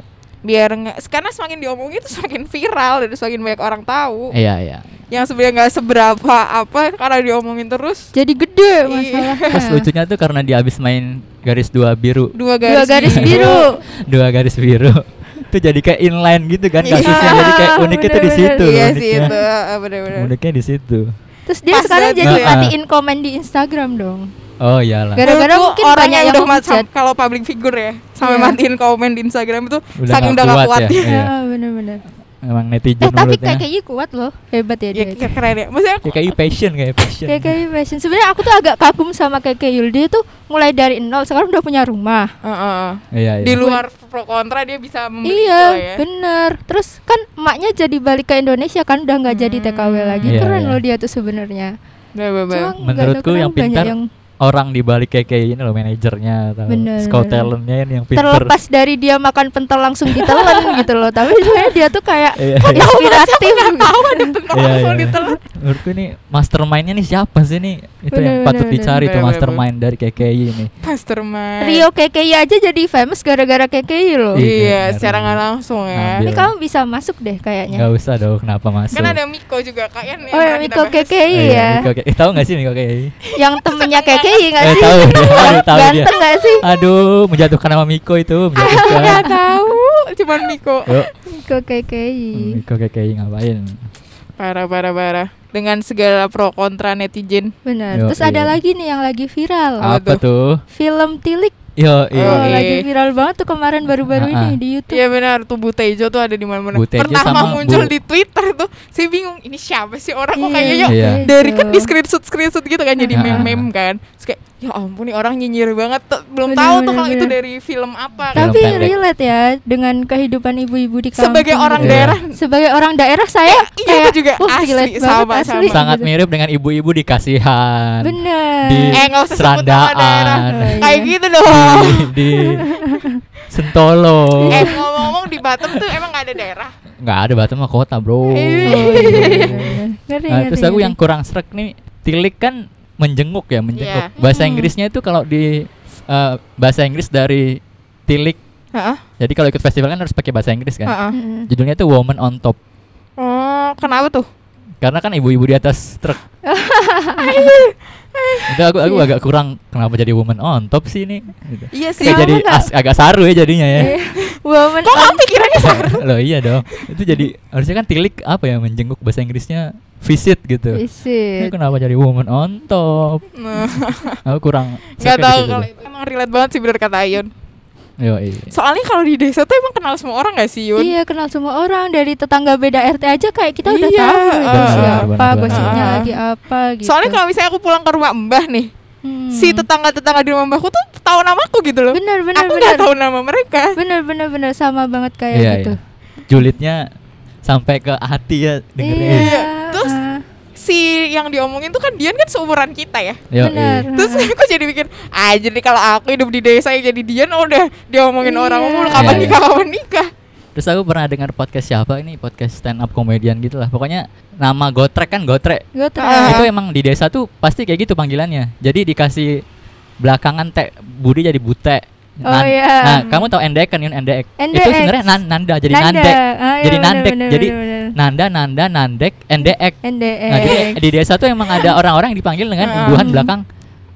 [SPEAKER 1] biar nggak karena semakin diomongin itu semakin viral dan semakin banyak orang tahu
[SPEAKER 2] Iya, iya.
[SPEAKER 1] yang sebenarnya nggak seberapa apa karena diomongin terus
[SPEAKER 3] Jadi
[SPEAKER 1] Iya.
[SPEAKER 3] gede masalahnya.
[SPEAKER 2] Terus lucunya tuh karena dia habis main garis dua biru.
[SPEAKER 1] dua garis,
[SPEAKER 3] Dua garis biru.
[SPEAKER 2] dua garis biru itu jadi kayak inline gitu kan
[SPEAKER 1] Iya.
[SPEAKER 2] kasusnya jadi kayak unik itu di
[SPEAKER 3] Bener-bener.
[SPEAKER 2] situ
[SPEAKER 1] iya
[SPEAKER 2] uniknya.
[SPEAKER 1] sih itu eh, bener-bener
[SPEAKER 2] uniknya di situ
[SPEAKER 3] Terus dia
[SPEAKER 1] Pas
[SPEAKER 3] sekarang
[SPEAKER 1] banget
[SPEAKER 3] jadi
[SPEAKER 2] ya.
[SPEAKER 3] matiin komen di Instagram dong.
[SPEAKER 2] oh iyalah
[SPEAKER 3] Gara-gara
[SPEAKER 1] Menurutku
[SPEAKER 3] mungkin
[SPEAKER 1] orang
[SPEAKER 3] banyak
[SPEAKER 1] yang
[SPEAKER 3] yang
[SPEAKER 1] udah macam
[SPEAKER 3] menghujat.
[SPEAKER 1] kalau public figure ya sampai
[SPEAKER 3] Iya.
[SPEAKER 1] matiin komen di Instagram itu
[SPEAKER 2] Udah
[SPEAKER 1] saking udah
[SPEAKER 2] nggak
[SPEAKER 1] gak
[SPEAKER 2] kuat
[SPEAKER 1] kuat
[SPEAKER 2] ya,
[SPEAKER 1] ya.
[SPEAKER 2] Iya.
[SPEAKER 3] Ah, benar-benar.
[SPEAKER 2] emang netizen
[SPEAKER 3] Eh, tapi
[SPEAKER 2] mulutnya.
[SPEAKER 3] KKI kuat loh. Hebat ya
[SPEAKER 1] Ya,
[SPEAKER 3] dia.
[SPEAKER 1] kayak keren ya. Maksudnya aku,
[SPEAKER 2] KKI passion kayak passion
[SPEAKER 3] KKI fashion. Sebenarnya aku tuh agak kagum sama KKI Yul. Dia tuh mulai dari nol sekarang udah punya rumah.
[SPEAKER 1] Eh, eh, eh.
[SPEAKER 2] iya iya
[SPEAKER 1] di luar pro kontra dia bisa membeli
[SPEAKER 3] iya,
[SPEAKER 1] itu lah ya.
[SPEAKER 3] bener. Terus kan emaknya jadi balik ke Indonesia kan udah
[SPEAKER 1] Hmm.
[SPEAKER 3] nggak jadi TKW lagi.
[SPEAKER 2] Iya,
[SPEAKER 3] Keren
[SPEAKER 2] iya.
[SPEAKER 3] loh dia tuh sebenarnya.
[SPEAKER 1] Bener, bener, bener.
[SPEAKER 3] Cuma nggak
[SPEAKER 2] Menurutku
[SPEAKER 3] ada
[SPEAKER 2] yang
[SPEAKER 3] kurang, banyak
[SPEAKER 2] pintar-
[SPEAKER 3] yang
[SPEAKER 2] orang di balik KK ini loh manajernya atau
[SPEAKER 3] Bener,
[SPEAKER 2] scout
[SPEAKER 3] bener.
[SPEAKER 2] talentnya ini yang pinter.
[SPEAKER 3] terlepas dari dia makan pentol langsung ditelan gitu loh tapi sebenarnya dia tuh kayak
[SPEAKER 2] Iya,
[SPEAKER 1] Ya
[SPEAKER 2] iya.
[SPEAKER 3] inspiratif gitu.
[SPEAKER 1] tahu ada tentang
[SPEAKER 2] Iya,
[SPEAKER 1] langsung
[SPEAKER 2] iya.
[SPEAKER 1] ditelan
[SPEAKER 2] Menurutku ini mastermindnya nih siapa sih nih? Itu yang
[SPEAKER 3] Bener,
[SPEAKER 2] patut
[SPEAKER 3] bener,
[SPEAKER 2] dicari
[SPEAKER 1] bener.
[SPEAKER 2] tuh
[SPEAKER 1] Bener,
[SPEAKER 2] mastermind dari KKI ini.
[SPEAKER 1] mastermind
[SPEAKER 3] Rio KKI aja jadi famous gara-gara KKI loh
[SPEAKER 2] Iya,
[SPEAKER 1] iya
[SPEAKER 2] benar.
[SPEAKER 1] secara nggak langsung ya
[SPEAKER 3] ini
[SPEAKER 2] Iya.
[SPEAKER 3] kamu bisa masuk
[SPEAKER 2] Enggak
[SPEAKER 3] deh kayaknya
[SPEAKER 2] usah dong, kenapa masuk? Iya,
[SPEAKER 1] kan ada Miko juga kalian yang
[SPEAKER 3] oh ya
[SPEAKER 1] pernah kita
[SPEAKER 3] Miko
[SPEAKER 1] bahas.
[SPEAKER 3] KKI ya
[SPEAKER 2] Miko KKI. eh, Tahu enggak sih Miko KKI?
[SPEAKER 3] yang temennya KKI nggak
[SPEAKER 2] Eh,
[SPEAKER 3] sih
[SPEAKER 2] tahu dia, aduh, tahu dia.
[SPEAKER 3] ganteng nggak sih
[SPEAKER 2] Aduh, menjatuhkan nama Miko itu, menjatuhkan.
[SPEAKER 1] nggak tahu cuman Miko
[SPEAKER 2] Yuk,
[SPEAKER 3] Miko KKI
[SPEAKER 2] Miko KKI ngapain?
[SPEAKER 1] parah parah parah dengan segala pro kontra netizen
[SPEAKER 3] benar
[SPEAKER 2] Yo,
[SPEAKER 3] terus
[SPEAKER 2] iya.
[SPEAKER 3] ada lagi nih yang lagi viral
[SPEAKER 2] Apa
[SPEAKER 1] tuh?
[SPEAKER 2] tuh?
[SPEAKER 3] film Tilik
[SPEAKER 1] Oh,
[SPEAKER 2] Yo,
[SPEAKER 3] oh,
[SPEAKER 1] iya.
[SPEAKER 3] lagi viral banget tuh kemarin baru-baru
[SPEAKER 2] Ah, ah.
[SPEAKER 3] ini di YouTube
[SPEAKER 1] Iya benar tuh Bu Tejo tuh ada di mana-mana.
[SPEAKER 2] Bu Tejo
[SPEAKER 1] Pertama
[SPEAKER 2] sama
[SPEAKER 1] muncul
[SPEAKER 2] Bu-
[SPEAKER 1] di Twitter tuh. Saya bingung ini siapa sih orang kok
[SPEAKER 3] Iya,
[SPEAKER 1] kayaknya
[SPEAKER 2] yuk. Iya.
[SPEAKER 3] gitu.
[SPEAKER 1] dari kan di screenshot screenshot gitu kan jadi
[SPEAKER 2] Ah.
[SPEAKER 1] meme-meme kan. Terus kayak ya ampun nih orang nyinyir banget. Tuh, belum
[SPEAKER 3] Bener,
[SPEAKER 1] tahu tuh
[SPEAKER 3] bener,
[SPEAKER 1] kalau itu
[SPEAKER 3] bener.
[SPEAKER 1] dari film apa. kan.
[SPEAKER 2] Film
[SPEAKER 3] tapi
[SPEAKER 2] pendek.
[SPEAKER 3] relate ya dengan kehidupan ibu-ibu di kampung gitu.
[SPEAKER 1] Sebagai orang
[SPEAKER 2] Iya.
[SPEAKER 1] daerah
[SPEAKER 3] sebagai orang daerah
[SPEAKER 1] Iya,
[SPEAKER 3] saya
[SPEAKER 1] iya,
[SPEAKER 3] kayak,
[SPEAKER 1] itu juga
[SPEAKER 3] wah,
[SPEAKER 1] asli,
[SPEAKER 3] relate banget,
[SPEAKER 1] sama,
[SPEAKER 3] asli. Gitu.
[SPEAKER 1] sama.
[SPEAKER 2] sangat mirip dengan ibu-ibu di kasihan.
[SPEAKER 3] bener
[SPEAKER 2] Di
[SPEAKER 1] Eh, nggak usah sebut nama daerah.
[SPEAKER 2] Serandaan. Oh,
[SPEAKER 3] Iya.
[SPEAKER 1] kayak gitu dong.
[SPEAKER 2] di, di Sentolo.
[SPEAKER 1] eh ngomong-ngomong di Batam tuh emang gak ada daerah.
[SPEAKER 2] Nggak ada Batam mah kota,
[SPEAKER 1] Iya.
[SPEAKER 2] Bro.
[SPEAKER 3] Oh, iya, iya, iya, iya. ngeri
[SPEAKER 2] Nah, terus
[SPEAKER 3] ngeri,
[SPEAKER 2] aku
[SPEAKER 3] ngeri.
[SPEAKER 2] yang kurang srek nih, tilik kan menjenguk ya, menjenguk.
[SPEAKER 1] Iya.
[SPEAKER 2] Bahasa
[SPEAKER 3] Mm.
[SPEAKER 2] Inggrisnya itu kalau di eh, bahasa Inggris dari tilik.
[SPEAKER 1] Heeh.
[SPEAKER 2] Jadi kalau ikut festival kan harus pakai bahasa Inggris kan.
[SPEAKER 1] heeh.
[SPEAKER 3] Heeh.
[SPEAKER 2] Judulnya tuh Woman on Top.
[SPEAKER 1] Oh, kenapa tuh?
[SPEAKER 2] Karena kan ibu-ibu di atas truk. Itu aku aku agak kurang kenapa jadi woman on top sih ini. Gitu.
[SPEAKER 1] Iya
[SPEAKER 2] Kayak jadi
[SPEAKER 3] Kenapa nggak-
[SPEAKER 2] as- agak saru ya jadinya ya.
[SPEAKER 3] woman
[SPEAKER 1] Kok kamu pikirannya sama?
[SPEAKER 2] Loh iya dong. Itu jadi harusnya kan tilik apa ya menjenguk bahasa Inggrisnya visit
[SPEAKER 1] Iya.
[SPEAKER 2] gitu. Ini
[SPEAKER 3] visit
[SPEAKER 2] kenapa jadi woman on top? Aku kurang
[SPEAKER 1] Gak
[SPEAKER 2] suka
[SPEAKER 1] Nah, tahu
[SPEAKER 2] gitu
[SPEAKER 1] kalau
[SPEAKER 2] dulu.
[SPEAKER 1] itu. Emang relate banget sih bener kata Ayun.
[SPEAKER 2] Yoi.
[SPEAKER 1] Soalnya kalau di desa tuh emang kenal semua orang gak sih Yun?
[SPEAKER 3] Iya kenal semua orang dari tetangga beda RT aja kayak kita udah
[SPEAKER 1] Iya,
[SPEAKER 3] tahu
[SPEAKER 1] eh,
[SPEAKER 3] itu
[SPEAKER 1] benar,
[SPEAKER 3] siapa
[SPEAKER 2] benar, benar.
[SPEAKER 3] gosipnya
[SPEAKER 1] Ah.
[SPEAKER 3] lagi apa gitu.
[SPEAKER 1] Soalnya kalau misalnya aku pulang ke rumah Mbah nih,
[SPEAKER 3] Hmm.
[SPEAKER 1] si tetangga-tetangga di rumah Mbahku tuh tahu namaku gitu loh.
[SPEAKER 3] benar benar
[SPEAKER 1] aku
[SPEAKER 3] benar
[SPEAKER 1] nggak tahu nama mereka.
[SPEAKER 3] benar benar benar sama banget kayak
[SPEAKER 2] Iya,
[SPEAKER 3] gitu.
[SPEAKER 2] iya. Julidnya sampai ke hati ya dengerin.
[SPEAKER 1] Iya.
[SPEAKER 3] ah.
[SPEAKER 1] Terus, Si yang diomongin tuh kan Dian kan seumuran kita ya.
[SPEAKER 2] Yoi.
[SPEAKER 3] benar.
[SPEAKER 1] Terus aku jadi mikir, ah jadi kalau aku hidup di desa yang jadi Dian oh, udah diomongin
[SPEAKER 3] Iya.
[SPEAKER 1] orang mulu kapan
[SPEAKER 2] Iya, iya.
[SPEAKER 1] nikah kapan nikah.
[SPEAKER 2] Terus aku pernah dengar podcast siapa ini podcast stand up komedian gitu lah. Pokoknya nama Gotrek kan Gotrek.
[SPEAKER 3] Gue
[SPEAKER 1] Ah.
[SPEAKER 2] Itu emang di desa tuh pasti kayak gitu panggilannya. Jadi dikasih belakangan teh Budi jadi bute.
[SPEAKER 3] Oh, iya.
[SPEAKER 2] Nah, kamu tahu NDX kan Yun NDX. Itu
[SPEAKER 3] NDX.
[SPEAKER 2] sebenarnya nan, nanda jadi
[SPEAKER 3] Nanda.
[SPEAKER 2] nandek.
[SPEAKER 3] Ah, iya,
[SPEAKER 2] jadi
[SPEAKER 3] benar,
[SPEAKER 2] nandek.
[SPEAKER 3] benar,
[SPEAKER 2] jadi
[SPEAKER 3] benar, benar.
[SPEAKER 2] nanda nanda nandek NDX.
[SPEAKER 3] NDX.
[SPEAKER 2] Nah,
[SPEAKER 1] eh,
[SPEAKER 2] jadi di desa tuh emang ada orang-orang yang dipanggil dengan
[SPEAKER 3] Ah.
[SPEAKER 1] Hmm.
[SPEAKER 2] imbuhan belakang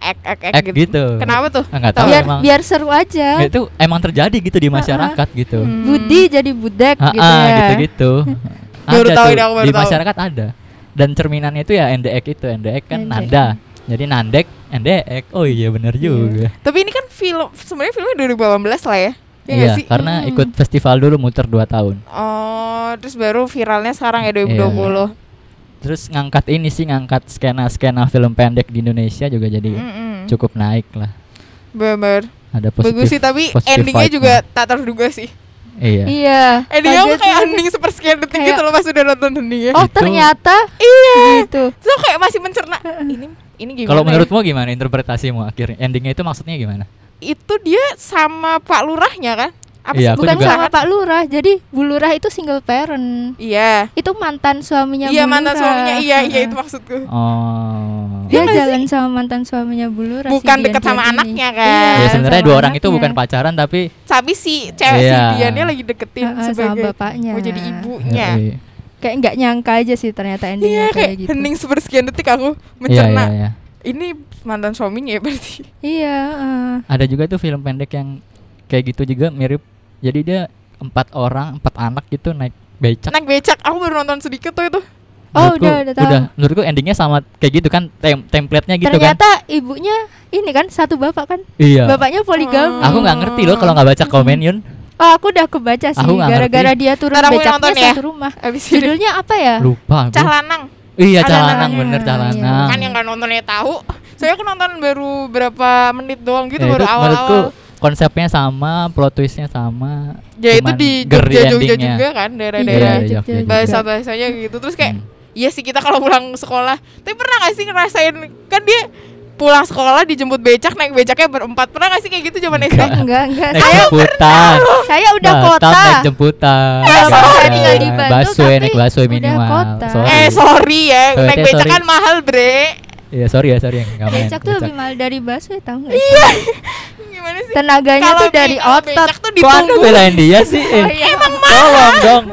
[SPEAKER 1] Ek ek ek,
[SPEAKER 2] ek gitu.
[SPEAKER 1] Kenapa tuh? ya?
[SPEAKER 2] Ah, nggak tahu
[SPEAKER 3] biar
[SPEAKER 2] emang.
[SPEAKER 3] biar seru aja.
[SPEAKER 1] Iya.
[SPEAKER 2] Itu emang terjadi gitu di masyarakat
[SPEAKER 3] Ah,
[SPEAKER 2] gitu.
[SPEAKER 1] Hmm.
[SPEAKER 3] Budi jadi budek
[SPEAKER 2] Ah,
[SPEAKER 3] gitu ya.
[SPEAKER 2] gitu-gitu.
[SPEAKER 1] Baru
[SPEAKER 2] ada
[SPEAKER 1] tahu
[SPEAKER 2] tuh,
[SPEAKER 1] ini aku baru
[SPEAKER 2] di
[SPEAKER 1] tahu.
[SPEAKER 2] masyarakat ada. Dan cerminannya itu ya NDX itu, NDX kan
[SPEAKER 3] NDX.
[SPEAKER 2] nanda. Jadi nandek, NDX. Oh iya bener juga.
[SPEAKER 1] Tapi ini kan film sebenarnya filmnya 2018 lah ya. Iya nggak
[SPEAKER 2] Iya,
[SPEAKER 1] sih?
[SPEAKER 2] karena
[SPEAKER 3] Hmm.
[SPEAKER 2] ikut festival dulu muter 2 tahun.
[SPEAKER 1] Oh, terus baru viralnya sekarang
[SPEAKER 2] Iya.
[SPEAKER 1] ya 2020.
[SPEAKER 2] Terus ngangkat ini sih ngangkat skena-skena film pendek di Indonesia juga jadi
[SPEAKER 1] Mm-mm.
[SPEAKER 2] cukup naik lah.
[SPEAKER 1] Bener.
[SPEAKER 2] Ada
[SPEAKER 1] Hmm. Bagus
[SPEAKER 2] positif.
[SPEAKER 1] sih tapi
[SPEAKER 2] positif
[SPEAKER 1] endingnya
[SPEAKER 2] vibe-nya.
[SPEAKER 1] juga tak terduga sih. ya.
[SPEAKER 2] Iya.
[SPEAKER 3] Iya.
[SPEAKER 1] Endingnya aku Eh,
[SPEAKER 3] Kaget
[SPEAKER 1] kayak
[SPEAKER 3] gitu.
[SPEAKER 1] ending sepersekian detik
[SPEAKER 3] Kayak-
[SPEAKER 1] gitu loh pas udah nonton endingnya.
[SPEAKER 3] Oh
[SPEAKER 2] Gitu.
[SPEAKER 3] ternyata
[SPEAKER 1] iya.
[SPEAKER 3] gitu.
[SPEAKER 1] Terus aku kayak masih mencerna. Ini ini gimana?
[SPEAKER 2] Kalau
[SPEAKER 1] ya?
[SPEAKER 2] menurutmu gimana interpretasimu akhirnya? Endingnya itu maksudnya gimana?
[SPEAKER 1] itu dia sama Pak Lurahnya kan? Apa sih?
[SPEAKER 2] Iya, aku
[SPEAKER 1] bukan
[SPEAKER 3] Bukan
[SPEAKER 2] juga-
[SPEAKER 1] sama
[SPEAKER 3] sama Pak Lurah. Jadi Bu Lurah itu single parent.
[SPEAKER 1] Iya.
[SPEAKER 3] Itu mantan suaminya
[SPEAKER 1] Iya
[SPEAKER 3] Bu
[SPEAKER 1] mantan
[SPEAKER 3] Lurah.
[SPEAKER 1] suaminya. Iya, iya
[SPEAKER 3] Heeh.
[SPEAKER 1] itu maksudku.
[SPEAKER 2] Oh.
[SPEAKER 1] Iya
[SPEAKER 3] Dia
[SPEAKER 1] nggak
[SPEAKER 3] jalan sama mantan suaminya Bu Lurah. si
[SPEAKER 1] Bukan
[SPEAKER 3] Dian
[SPEAKER 1] deket sama
[SPEAKER 3] Jardini.
[SPEAKER 1] anaknya kan.
[SPEAKER 2] Ya sebenarnya
[SPEAKER 3] Iya, sama
[SPEAKER 2] dua orang itu
[SPEAKER 3] anaknya.
[SPEAKER 2] bukan pacaran tapi
[SPEAKER 1] Tapi si cewek
[SPEAKER 2] Iya.
[SPEAKER 1] si Diannya lagi deketin
[SPEAKER 3] Heeh, sama
[SPEAKER 1] sebagai
[SPEAKER 3] bapaknya.
[SPEAKER 1] mau jadi ibunya.
[SPEAKER 2] Yoi.
[SPEAKER 3] Kayak nggak nyangka aja sih ternyata
[SPEAKER 1] Iya
[SPEAKER 3] endingnya kayak
[SPEAKER 1] kayak
[SPEAKER 3] gitu.
[SPEAKER 1] hening sepersekian detik aku
[SPEAKER 2] Iya,
[SPEAKER 1] mencerna.
[SPEAKER 2] iya, iya.
[SPEAKER 1] Ini mantan suaminya ya berarti.
[SPEAKER 3] Iya, heeh.
[SPEAKER 2] Ada juga tuh film pendek yang kayak gitu juga mirip. Jadi dia empat orang, empat anak gitu naik becak.
[SPEAKER 1] Naik becak, aku baru nonton sedikit tuh itu.
[SPEAKER 3] Oh,
[SPEAKER 2] Menurutku-
[SPEAKER 3] udah, udah tahu.
[SPEAKER 2] menurutku endingnya sama kayak gitu kan, tem template-nya gitu kan.
[SPEAKER 3] ternyata ibunya ini kan satu bapak kan.
[SPEAKER 2] Iya.
[SPEAKER 3] Bapaknya poligami.
[SPEAKER 2] Aku nggak ngerti loh kalau nggak baca komen Yun.
[SPEAKER 3] Oh, aku udah kebaca sih
[SPEAKER 2] Aku nggak
[SPEAKER 3] gara-gara
[SPEAKER 2] ngerti.
[SPEAKER 3] dia turun
[SPEAKER 1] Ntar aku yang
[SPEAKER 3] becaknya
[SPEAKER 1] nonton ya.
[SPEAKER 3] satu rumah.
[SPEAKER 1] Abis itu
[SPEAKER 3] Judulnya apa ya?
[SPEAKER 2] Lupa. aku.
[SPEAKER 1] Cah Lanang.
[SPEAKER 2] Iya,
[SPEAKER 1] Ada
[SPEAKER 2] calanang
[SPEAKER 1] namanya.
[SPEAKER 2] bener
[SPEAKER 3] Iya.
[SPEAKER 2] calanang.
[SPEAKER 1] Kan yang nggak nontonnya tahu. Soalnya aku nonton baru berapa menit doang gitu
[SPEAKER 2] Ya,
[SPEAKER 1] baru
[SPEAKER 2] menurutku
[SPEAKER 1] awal-awal.
[SPEAKER 2] konsepnya sama, plot twistnya sama.
[SPEAKER 1] Ya itu
[SPEAKER 2] cuman
[SPEAKER 1] di
[SPEAKER 2] geri
[SPEAKER 1] Jogja Jogja
[SPEAKER 2] endingnya.
[SPEAKER 1] juga kan
[SPEAKER 2] Iya,
[SPEAKER 1] daerah-daerah
[SPEAKER 2] iya,
[SPEAKER 3] Jogja
[SPEAKER 2] iya,
[SPEAKER 3] juga.
[SPEAKER 1] bahasa bahasanya gitu terus kayak
[SPEAKER 2] Hmm.
[SPEAKER 1] Iya sih kita kalau pulang sekolah Tapi pernah gak sih ngerasain Kan dia pulang sekolah dijemput becak naik becaknya berempat pernah gak sih kayak gitu zaman SD?
[SPEAKER 2] Enggak.
[SPEAKER 3] Eh, enggak enggak
[SPEAKER 2] naik
[SPEAKER 3] saya
[SPEAKER 2] jemputan
[SPEAKER 3] saya udah
[SPEAKER 2] Batam
[SPEAKER 3] kota
[SPEAKER 2] naik jemputan
[SPEAKER 3] Nah, sorry,
[SPEAKER 2] Batam.
[SPEAKER 3] nggak dibantu,
[SPEAKER 2] Busway,
[SPEAKER 3] tapi
[SPEAKER 2] naik busway
[SPEAKER 3] udah
[SPEAKER 2] minimal
[SPEAKER 3] kota.
[SPEAKER 1] Eh sorry ya,
[SPEAKER 2] Oh,
[SPEAKER 1] naik
[SPEAKER 2] teh,
[SPEAKER 1] becak
[SPEAKER 2] Oh, iya. sorry.
[SPEAKER 1] kan mahal bre.
[SPEAKER 2] Iya sorry ya sorry yang nggak
[SPEAKER 1] Eh,
[SPEAKER 2] main.
[SPEAKER 3] becak tuh
[SPEAKER 2] Becak.
[SPEAKER 3] lebih mahal dari busway tahu nggak
[SPEAKER 1] Iya.
[SPEAKER 3] sih?
[SPEAKER 1] Gimana sih?
[SPEAKER 3] tenaganya
[SPEAKER 1] Kalau
[SPEAKER 3] tuh
[SPEAKER 1] be-
[SPEAKER 3] dari
[SPEAKER 1] kalau
[SPEAKER 3] otot
[SPEAKER 1] becak tuh
[SPEAKER 2] Kok anda
[SPEAKER 1] ditunggu.
[SPEAKER 2] belain dia sih?
[SPEAKER 1] Oh,
[SPEAKER 2] Eh,
[SPEAKER 1] iya.
[SPEAKER 3] emang
[SPEAKER 2] Tolong dong.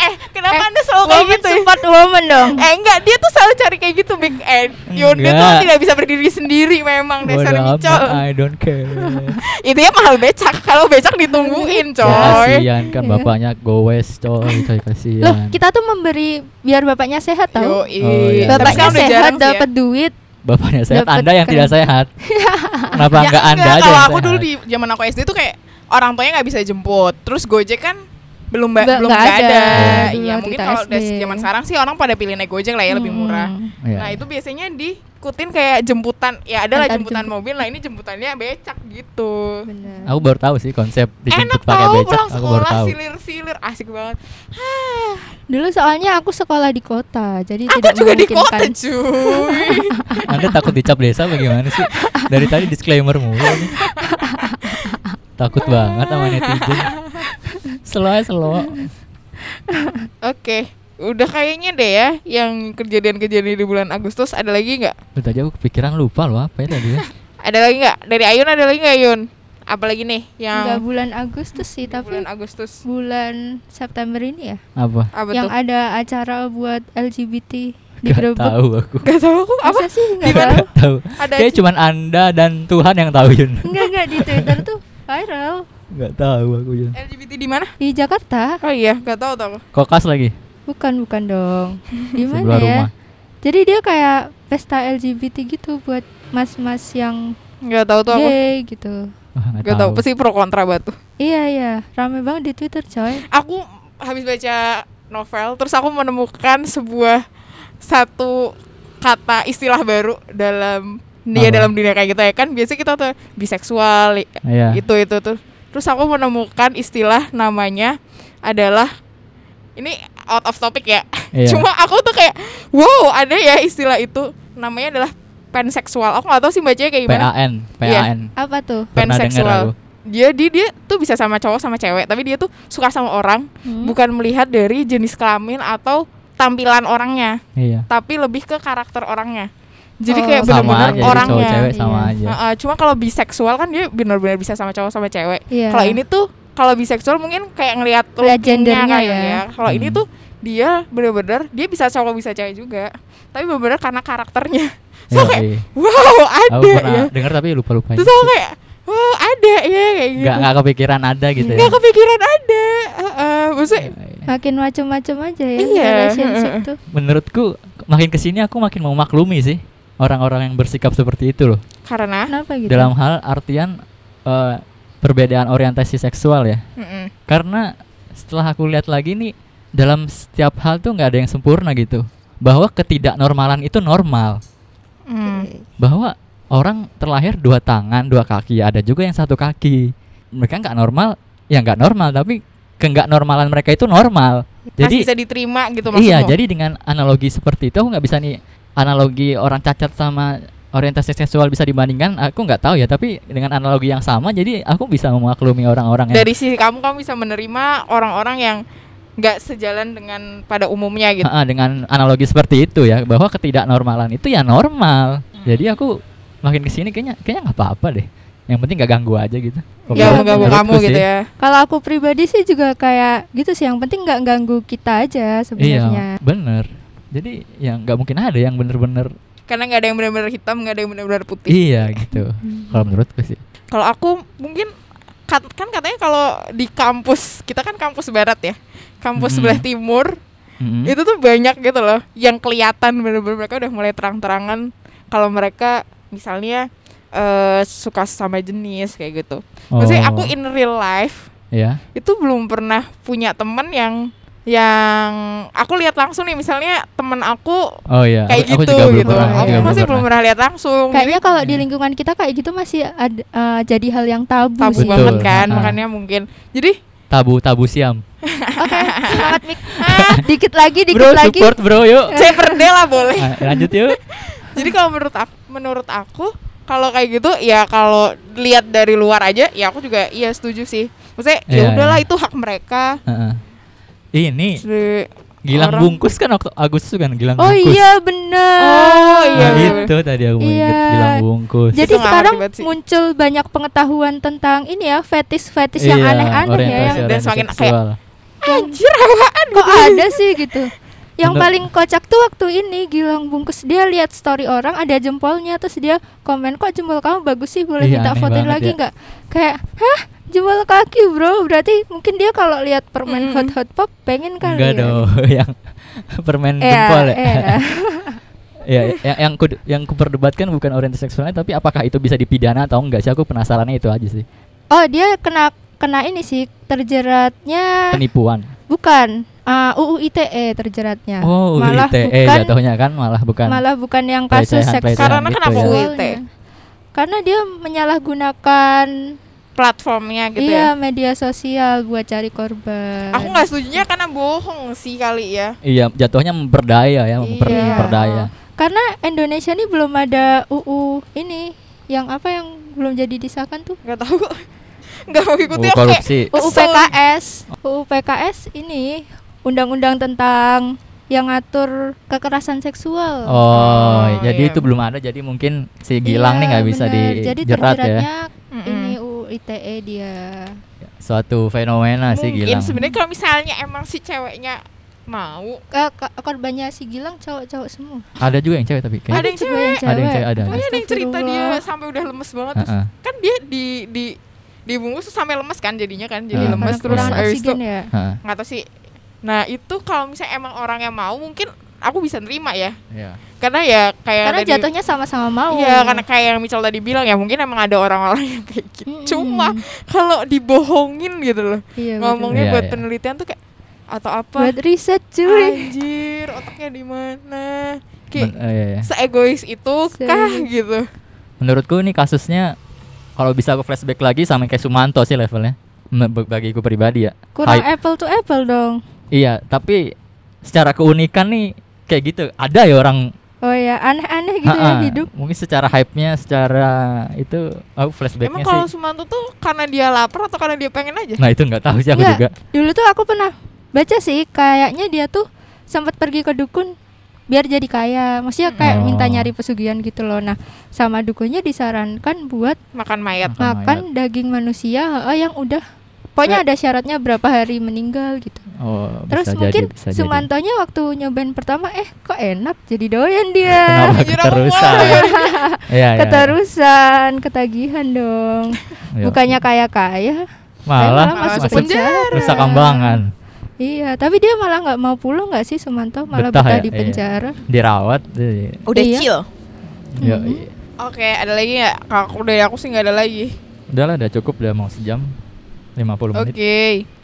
[SPEAKER 1] Eh kenapa
[SPEAKER 3] Eh,
[SPEAKER 1] anda selalu kayak
[SPEAKER 3] woman
[SPEAKER 1] gitu? ya?
[SPEAKER 3] support woman dong
[SPEAKER 1] Eh enggak, dia tuh selalu cari kayak gitu Big End. Yonde tuh
[SPEAKER 2] Enggak.
[SPEAKER 1] tidak bisa berdiri sendiri memang dasar
[SPEAKER 2] Bodoh
[SPEAKER 1] mico.
[SPEAKER 2] amat, I don't care.
[SPEAKER 1] Itu ya mahal becak. Kalau becak ditungguin,
[SPEAKER 2] Ya,
[SPEAKER 1] coy. Iya.
[SPEAKER 2] kasihan kan bapaknya gowes coy, coy kasihan.
[SPEAKER 3] loh kita tuh memberi biar bapaknya sehat
[SPEAKER 1] Yo,
[SPEAKER 3] tahu
[SPEAKER 2] Oh, iya.
[SPEAKER 1] kan
[SPEAKER 2] Tapi
[SPEAKER 3] bapaknya
[SPEAKER 2] sekarang
[SPEAKER 1] ya.
[SPEAKER 3] sehat dapat duit
[SPEAKER 2] Bapaknya sehat,
[SPEAKER 3] Dapet
[SPEAKER 2] anda yang
[SPEAKER 3] keren.
[SPEAKER 2] tidak sehat. Kenapa
[SPEAKER 1] Ya,
[SPEAKER 2] enggak anda aja?
[SPEAKER 1] Kalau
[SPEAKER 2] yang
[SPEAKER 1] aku dulu
[SPEAKER 2] sehat?
[SPEAKER 1] di zaman aku SD tuh kayak orang tuanya nggak bisa jemput. Terus Gojek kan belum ba-
[SPEAKER 3] Nggak-
[SPEAKER 1] belum
[SPEAKER 3] nggak
[SPEAKER 1] nggak
[SPEAKER 3] ada.
[SPEAKER 1] ada.
[SPEAKER 3] Iya.
[SPEAKER 1] Iya,
[SPEAKER 3] Dulu
[SPEAKER 1] mungkin
[SPEAKER 3] kita
[SPEAKER 1] kalau udah
[SPEAKER 3] SD.
[SPEAKER 1] zaman sekarang sih orang pada pilih naik Gojek lah ya lebih murah.
[SPEAKER 3] Hmm.
[SPEAKER 2] Iya.
[SPEAKER 1] Nah, itu biasanya diikutin kayak jemputan. Ya adalah
[SPEAKER 3] Ada
[SPEAKER 1] jemputan
[SPEAKER 3] jemput-
[SPEAKER 1] mobil. Nah, ini jemputannya becak gitu.
[SPEAKER 3] Bener.
[SPEAKER 2] Aku baru tahu sih konsep dijemput
[SPEAKER 1] Enak
[SPEAKER 2] pakai
[SPEAKER 1] tau
[SPEAKER 2] becak.
[SPEAKER 1] pulang
[SPEAKER 2] Aku baru
[SPEAKER 1] sekolah
[SPEAKER 2] tahu.
[SPEAKER 1] silir-silir asik banget.
[SPEAKER 3] Dulu soalnya aku sekolah di kota, Iya, jadi kan.
[SPEAKER 1] Aku
[SPEAKER 3] tidak
[SPEAKER 1] juga di
[SPEAKER 3] memungkinkan.
[SPEAKER 1] kota cuy
[SPEAKER 2] Anda takut dicap desa bagaimana sih? Dari tadi disclaimer mulu. nih. takut banget sama netizen. Selo aja, selo.
[SPEAKER 1] Oke Udah kayaknya deh ya Yang kejadian-kejadian di bulan Agustus Ada lagi nggak?
[SPEAKER 2] Lu tadi aku kepikiran lupa loh apa ya tadi ya.
[SPEAKER 1] Ada lagi nggak? Dari Ayun ada lagi nggak Ayun? Apalagi nih
[SPEAKER 3] Enggak
[SPEAKER 1] yang
[SPEAKER 3] bulan Agustus sih, tapi
[SPEAKER 1] bulan Agustus
[SPEAKER 3] bulan September ini ya,
[SPEAKER 2] Apa?
[SPEAKER 1] Apa
[SPEAKER 3] yang
[SPEAKER 1] tuh?
[SPEAKER 3] ada acara buat LGBT di
[SPEAKER 2] Gak
[SPEAKER 3] Grebek.
[SPEAKER 2] tahu aku.
[SPEAKER 1] Gak tau aku apa?
[SPEAKER 3] Masa sih enggak
[SPEAKER 1] Di mana?
[SPEAKER 3] tahu?
[SPEAKER 2] Gak tahu.
[SPEAKER 1] Ada
[SPEAKER 2] Kayak cuman Anda dan Tuhan yang tahu Yun.
[SPEAKER 3] Enggak enggak di Twitter tuh viral
[SPEAKER 2] Gak tahu aku Yun.
[SPEAKER 1] LGBT di mana?
[SPEAKER 3] di Jakarta.
[SPEAKER 1] Oh iya, gak tau tau
[SPEAKER 2] Kokas lagi
[SPEAKER 3] Bukan bukan dong. Di mana
[SPEAKER 2] sebelah
[SPEAKER 3] ya?
[SPEAKER 2] rumah.
[SPEAKER 3] Jadi dia kayak pesta LGBT gitu buat mas-mas yang
[SPEAKER 1] Gak tau tuh aku
[SPEAKER 3] gay gitu.
[SPEAKER 2] Wah,
[SPEAKER 1] Gak tau, pasti pro kontra batu
[SPEAKER 3] Iya iya, rame banget di Twitter coy.
[SPEAKER 1] Aku habis baca novel Terus aku menemukan sebuah Satu kata istilah baru Dalam dia
[SPEAKER 2] Apa?
[SPEAKER 1] dalam dunia kayak gitu ya kan biasanya kita tuh biseksual
[SPEAKER 2] Iya.
[SPEAKER 1] itu itu tuh terus aku menemukan istilah namanya adalah ini out of topic ya
[SPEAKER 2] Iya.
[SPEAKER 1] cuma aku tuh kayak wow ada ya istilah itu namanya adalah panseksual aku nggak tahu sih bacanya kayak gimana
[SPEAKER 2] PAN,
[SPEAKER 1] Iya.
[SPEAKER 2] PAN.
[SPEAKER 3] Apa tuh?
[SPEAKER 2] Pernah dengar
[SPEAKER 1] Panseksual.
[SPEAKER 2] aku.
[SPEAKER 1] dia dia dia tuh bisa sama cowok sama cewek tapi dia tuh suka sama orang
[SPEAKER 3] Hmm?
[SPEAKER 1] bukan melihat dari jenis kelamin atau tampilan orangnya
[SPEAKER 2] Iya.
[SPEAKER 1] tapi lebih ke karakter orangnya jadi
[SPEAKER 3] Oh,
[SPEAKER 1] kayak
[SPEAKER 3] Sama
[SPEAKER 1] benar-benar
[SPEAKER 2] aja, jadi
[SPEAKER 1] orangnya Ah,
[SPEAKER 2] cowok cewek sama
[SPEAKER 3] Iya.
[SPEAKER 2] aja.
[SPEAKER 1] Heeh, cuma kalau biseksual kan dia benar-benar bisa sama cowok sama cewek.
[SPEAKER 3] Iya.
[SPEAKER 1] Kalau ini tuh kalau biseksual mungkin kayak ngelihat
[SPEAKER 3] Ngeliat
[SPEAKER 1] looknya
[SPEAKER 3] gendernya
[SPEAKER 1] kali
[SPEAKER 3] ya.
[SPEAKER 1] Kalau ini
[SPEAKER 2] Hmm.
[SPEAKER 1] tuh dia benar-benar dia bisa cowok bisa cewek juga. Tapi benar-benar karena karakternya. So kayak
[SPEAKER 2] Iya, iya.
[SPEAKER 1] wow
[SPEAKER 2] Aku
[SPEAKER 1] ada
[SPEAKER 2] pernah
[SPEAKER 1] ya.
[SPEAKER 2] dengar tapi lupa-lupa.
[SPEAKER 1] Terus aku kayak wow ada ya kayak gitu.
[SPEAKER 2] Gak, gak kepikiran ada gitu ya. Iya,
[SPEAKER 1] Nggak kepikiran ada. Heeh, maksudnya
[SPEAKER 3] makin macem-macem aja ya
[SPEAKER 1] Iya.
[SPEAKER 3] relationship tuh
[SPEAKER 2] Menurutku makin kesini aku makin memaklumi sih orang-orang yang bersikap seperti itu loh.
[SPEAKER 1] karena
[SPEAKER 3] kenapa gitu
[SPEAKER 2] Dalam hal artian eh, perbedaan orientasi seksual ya.
[SPEAKER 1] Mm-mm.
[SPEAKER 2] karena setelah aku lihat lagi nih dalam setiap hal tuh nggak ada yang sempurna gitu bahwa ketidaknormalan itu normal
[SPEAKER 1] Mm.
[SPEAKER 3] Iya.
[SPEAKER 2] bahwa orang terlahir dua tangan dua kaki ada juga yang satu kaki mereka nggak normal ya nggak normal tapi ke nggak normalan mereka itu normal
[SPEAKER 1] Masih
[SPEAKER 2] jadi
[SPEAKER 1] bisa diterima gitu maksudmu.
[SPEAKER 2] iya jadi dengan analogi seperti itu aku nggak bisa nih analogi orang cacat sama orientasi seksual bisa dibandingkan aku nggak tahu ya tapi dengan analogi yang sama jadi aku bisa memaklumi orang-orang yang
[SPEAKER 1] dari sisi kamu kamu bisa menerima orang-orang yang nggak sejalan dengan pada umumnya gitu.
[SPEAKER 2] Ha-ha, dengan analogi seperti itu ya bahwa ketidaknormalan itu ya normal.
[SPEAKER 1] Hmm.
[SPEAKER 2] Jadi aku makin kesini kayaknya kayaknya nggak apa-apa deh. Yang penting nggak ganggu aja gitu. Kalau
[SPEAKER 1] Ya
[SPEAKER 2] menurut-
[SPEAKER 1] mengganggu
[SPEAKER 2] menurutku
[SPEAKER 1] kamu
[SPEAKER 2] sih.
[SPEAKER 1] gitu ya.
[SPEAKER 3] kalau aku pribadi sih juga kayak gitu sih yang penting nggak ganggu kita aja
[SPEAKER 2] Iya,
[SPEAKER 3] sebenarnya
[SPEAKER 2] bener. Jadi ya nggak mungkin ada yang bener-bener
[SPEAKER 1] karena nggak ada yang benar-benar hitam nggak ada yang benar-benar putih
[SPEAKER 2] iya gitu. Kalau menurutku sih.
[SPEAKER 1] kalau aku mungkin kat- kan katanya kalau di kampus kita kan kampus barat ya kampus
[SPEAKER 2] Mm-mm.
[SPEAKER 1] sebelah timur
[SPEAKER 2] Mm-mm.
[SPEAKER 1] itu tuh banyak gitu loh yang kelihatan benar-benar mereka udah mulai terang-terangan kalau mereka misalnya eh, suka sama jenis kayak gitu maksudnya
[SPEAKER 2] Oh,
[SPEAKER 1] aku in real life
[SPEAKER 2] ya.
[SPEAKER 1] itu belum pernah punya temen yang yang aku lihat langsung nih misalnya temen aku
[SPEAKER 2] Oh iya.
[SPEAKER 1] kayak
[SPEAKER 2] aku,
[SPEAKER 1] gitu
[SPEAKER 2] aku juga belum
[SPEAKER 1] gitu
[SPEAKER 2] pernah, aku
[SPEAKER 1] aku
[SPEAKER 2] juga
[SPEAKER 1] masih belum pernah lihat langsung
[SPEAKER 3] kayaknya kalau
[SPEAKER 2] Iya.
[SPEAKER 3] di lingkungan kita kayak gitu masih ada, eh, jadi hal yang tabu,
[SPEAKER 1] tabu
[SPEAKER 3] sih
[SPEAKER 2] Betul.
[SPEAKER 1] banget kan
[SPEAKER 2] Ah.
[SPEAKER 1] makanya mungkin jadi
[SPEAKER 2] Tabu tabu siam.
[SPEAKER 3] oke semangat mik dikit lagi dikit
[SPEAKER 2] Bro
[SPEAKER 3] lagi
[SPEAKER 2] support bro yuk.
[SPEAKER 1] saya perde lah boleh
[SPEAKER 2] Ah, lanjut yuk.
[SPEAKER 1] Jadi kalau menurut aku, menurut aku kalau kayak gitu ya kalau lihat dari luar aja ya aku juga iya setuju sih. Maksudnya
[SPEAKER 2] Iya,
[SPEAKER 1] ya udahlah
[SPEAKER 2] iya.
[SPEAKER 1] itu hak mereka.
[SPEAKER 2] Heeh. Ini
[SPEAKER 1] Si-
[SPEAKER 2] Gilang
[SPEAKER 1] orang-
[SPEAKER 2] Bungkus kan waktu Agustus kan Gilang
[SPEAKER 3] Oh
[SPEAKER 2] Bungkus.
[SPEAKER 3] iya bener.
[SPEAKER 1] Oh iya.
[SPEAKER 2] Nah,
[SPEAKER 1] iya.
[SPEAKER 2] itu tadi aku mau inget
[SPEAKER 3] Iya.
[SPEAKER 2] Gilang Bungkus.
[SPEAKER 3] Jadi
[SPEAKER 1] Itu nggak
[SPEAKER 3] sekarang
[SPEAKER 1] ngerti banget sih.
[SPEAKER 3] muncul banyak pengetahuan tentang ini ya fetis-fetis yang
[SPEAKER 2] Iya,
[SPEAKER 3] aneh-aneh ya. Yang,
[SPEAKER 2] orientasi-
[SPEAKER 1] Dan semakin
[SPEAKER 2] orientasi
[SPEAKER 1] kayak-
[SPEAKER 2] seksual.
[SPEAKER 1] Anjir apaan
[SPEAKER 3] kok ada sih gitu. Yang
[SPEAKER 2] Bener.
[SPEAKER 3] paling kocak tuh waktu ini Gilang Bungkus dia lihat story orang ada jempolnya terus dia komen kok jempol kamu bagus sih boleh
[SPEAKER 2] Iya,
[SPEAKER 3] minta
[SPEAKER 2] aneh
[SPEAKER 3] fotoin
[SPEAKER 2] banget
[SPEAKER 3] lagi
[SPEAKER 2] ya.
[SPEAKER 3] nggak? Kayak hah jempol kaki bro berarti mungkin dia kalau lihat permen
[SPEAKER 1] Mm-mm.
[SPEAKER 3] hot hot pop pengen kali
[SPEAKER 2] Enggak
[SPEAKER 3] ya.
[SPEAKER 2] dong, yang permen
[SPEAKER 3] Iya,
[SPEAKER 2] jempol ya.
[SPEAKER 3] iya.
[SPEAKER 2] Ya, yang yang ku, yang kuperdebatkan bukan orientasi seksualnya tapi apakah itu bisa dipidana atau enggak sih aku penasarannya itu aja sih.
[SPEAKER 3] Oh dia kena kena ini sih terjeratnya
[SPEAKER 2] Penipuan.
[SPEAKER 3] bukan ah, UU ITE terjeratnya.
[SPEAKER 2] Oh,
[SPEAKER 3] Eh, malah
[SPEAKER 2] ITE
[SPEAKER 3] bukan
[SPEAKER 2] jatuhnya kan malah bukan.
[SPEAKER 3] malah bukan yang kasus
[SPEAKER 2] Pelecehan-
[SPEAKER 3] seksual.
[SPEAKER 2] pelecehan
[SPEAKER 1] Karena kenapa
[SPEAKER 2] gitu
[SPEAKER 1] ya.
[SPEAKER 3] Awalnya. Karena dia menyalahgunakan
[SPEAKER 1] platformnya gitu
[SPEAKER 3] iya
[SPEAKER 1] ya.
[SPEAKER 3] media sosial buat cari korban.
[SPEAKER 1] Aku nggak setujunya karena bohong sih kali ya.
[SPEAKER 2] Iya, jatuhnya memperdaya ya, memper,
[SPEAKER 1] Iya.
[SPEAKER 2] memperdaya.
[SPEAKER 3] Karena Indonesia ini belum ada UU ini yang apa yang belum jadi disahkan tuh
[SPEAKER 1] Gak tahu Gak mau ikuti
[SPEAKER 2] Oh,
[SPEAKER 1] aku kayak
[SPEAKER 2] korupsi.
[SPEAKER 3] UU
[SPEAKER 1] Kesel.
[SPEAKER 3] PKS. UU PKS ini undang-undang tentang yang ngatur kekerasan seksual.
[SPEAKER 2] Oh,
[SPEAKER 1] Oh, iya.
[SPEAKER 2] jadi itu belum ada. Jadi mungkin si Gilang
[SPEAKER 3] Iya,
[SPEAKER 2] nih nggak bisa
[SPEAKER 3] benar. Jadi
[SPEAKER 2] dijerat ya.
[SPEAKER 3] terjeratnya
[SPEAKER 1] Mm-mm.
[SPEAKER 3] ini UU ITE E dia.
[SPEAKER 2] Suatu fenomena sih
[SPEAKER 1] mungkin
[SPEAKER 2] Gilang.
[SPEAKER 1] sebenarnya kalau misalnya emang si ceweknya mau
[SPEAKER 3] Ke- ke- korbannya si Gilang cowok-cowok semua.
[SPEAKER 2] Ada juga yang cewek tapi
[SPEAKER 1] Ada
[SPEAKER 2] kayaknya
[SPEAKER 1] yang
[SPEAKER 3] Cuma
[SPEAKER 1] cewek.
[SPEAKER 2] Ada yang cewek, ada.
[SPEAKER 1] Pokoknya ada yang cerita dia
[SPEAKER 3] Astagfirullah.
[SPEAKER 1] sampai udah lemes banget terus
[SPEAKER 2] Heeh.
[SPEAKER 1] kan dia di di dibungkus terus sampai lemes kan jadinya kan jadi
[SPEAKER 2] Iya.
[SPEAKER 1] lemes
[SPEAKER 3] Karena
[SPEAKER 1] terus
[SPEAKER 3] kekurangan
[SPEAKER 1] habis itu
[SPEAKER 3] oksigen ya.
[SPEAKER 2] Heeh,
[SPEAKER 1] nggak tahu sih. Nah itu kalau misalnya emang orangnya mau mungkin aku bisa nerima ya
[SPEAKER 2] iya.
[SPEAKER 1] karena ya kayak
[SPEAKER 3] Karena
[SPEAKER 1] tadi-
[SPEAKER 3] jatuhnya sama-sama mau.
[SPEAKER 1] Iya karena kayak yang Michel tadi bilang ya mungkin emang ada orang-orang yang kayak gitu.
[SPEAKER 3] Mm-mm.
[SPEAKER 1] Cuma kalau dibohongin gitu loh
[SPEAKER 3] Hmm. Iya, betul.
[SPEAKER 1] ngomongnya
[SPEAKER 2] Iya,
[SPEAKER 1] buat
[SPEAKER 2] iya.
[SPEAKER 1] penelitian tuh kayak atau apa?
[SPEAKER 3] buat riset cuy.
[SPEAKER 1] Anjir, otaknya di mana?
[SPEAKER 2] Ben-
[SPEAKER 1] Kayak
[SPEAKER 2] eh, iya, iya.
[SPEAKER 1] seegois itu kah
[SPEAKER 3] Serius.
[SPEAKER 1] gitu.
[SPEAKER 2] Menurutku ini kasusnya kalau bisa aku flashback lagi sama kayak Sumanto sih levelnya. Me- Bagiku pribadi ya.
[SPEAKER 3] Kurang
[SPEAKER 2] Hai-
[SPEAKER 3] apple to apple dong.
[SPEAKER 2] Iya, tapi secara keunikan nih kayak gitu. Ada ya orang
[SPEAKER 3] Oh ya, aneh-aneh gitu ya
[SPEAKER 2] Ha-ha.
[SPEAKER 3] hidup.
[SPEAKER 2] Mungkin secara hype-nya, secara itu aku
[SPEAKER 1] Emang
[SPEAKER 2] flashbacknya
[SPEAKER 1] kalau
[SPEAKER 2] sih.
[SPEAKER 1] Sumanto tuh karena dia lapar atau karena dia pengen aja?
[SPEAKER 2] Nah, itu nggak tahu sih aku
[SPEAKER 3] Nggak,
[SPEAKER 2] juga.
[SPEAKER 3] Dulu tuh aku pernah baca sih kayaknya dia tuh sempat pergi ke dukun biar jadi kaya. Maksudnya
[SPEAKER 2] Oh.
[SPEAKER 3] kayak minta nyari pesugihan gitu loh. Nah, sama dukunnya disarankan buat
[SPEAKER 1] Makan mayat.
[SPEAKER 2] Makan
[SPEAKER 3] makan daging manusia heeh, yang udah Pokoknya ada syaratnya berapa hari meninggal gitu.
[SPEAKER 2] Oh,
[SPEAKER 3] Terus
[SPEAKER 2] bisa
[SPEAKER 3] mungkin
[SPEAKER 2] jadi, bisa jadi.
[SPEAKER 3] Sumantonya waktu nyobain pertama eh kok enak jadi doyan dia.
[SPEAKER 2] Kenapa
[SPEAKER 1] Anjir, aku
[SPEAKER 2] keterusan? Iya, iya.
[SPEAKER 3] Keterusan, ketagihan dong.
[SPEAKER 2] Iya.
[SPEAKER 3] Bukannya kaya-kaya,
[SPEAKER 2] malah
[SPEAKER 3] malah
[SPEAKER 1] masuk
[SPEAKER 2] masuk
[SPEAKER 1] penjara.
[SPEAKER 2] rusak kambangan,
[SPEAKER 3] Iya, tapi dia malah nggak mau pulang nggak sih Sumanto malah
[SPEAKER 2] Betah
[SPEAKER 3] betah,
[SPEAKER 2] ya?
[SPEAKER 3] di
[SPEAKER 2] Iya.
[SPEAKER 3] penjara.
[SPEAKER 2] dirawat. Iya.
[SPEAKER 1] Udah
[SPEAKER 3] Iya.
[SPEAKER 1] chill.
[SPEAKER 2] Iya.
[SPEAKER 3] Mhm.
[SPEAKER 1] Oke, ada lagi nggak? Kalau aku- dari aku sih nggak ada lagi.
[SPEAKER 2] Udahlah, udah cukup udah mau sejam 50
[SPEAKER 1] Oke,
[SPEAKER 2] menit.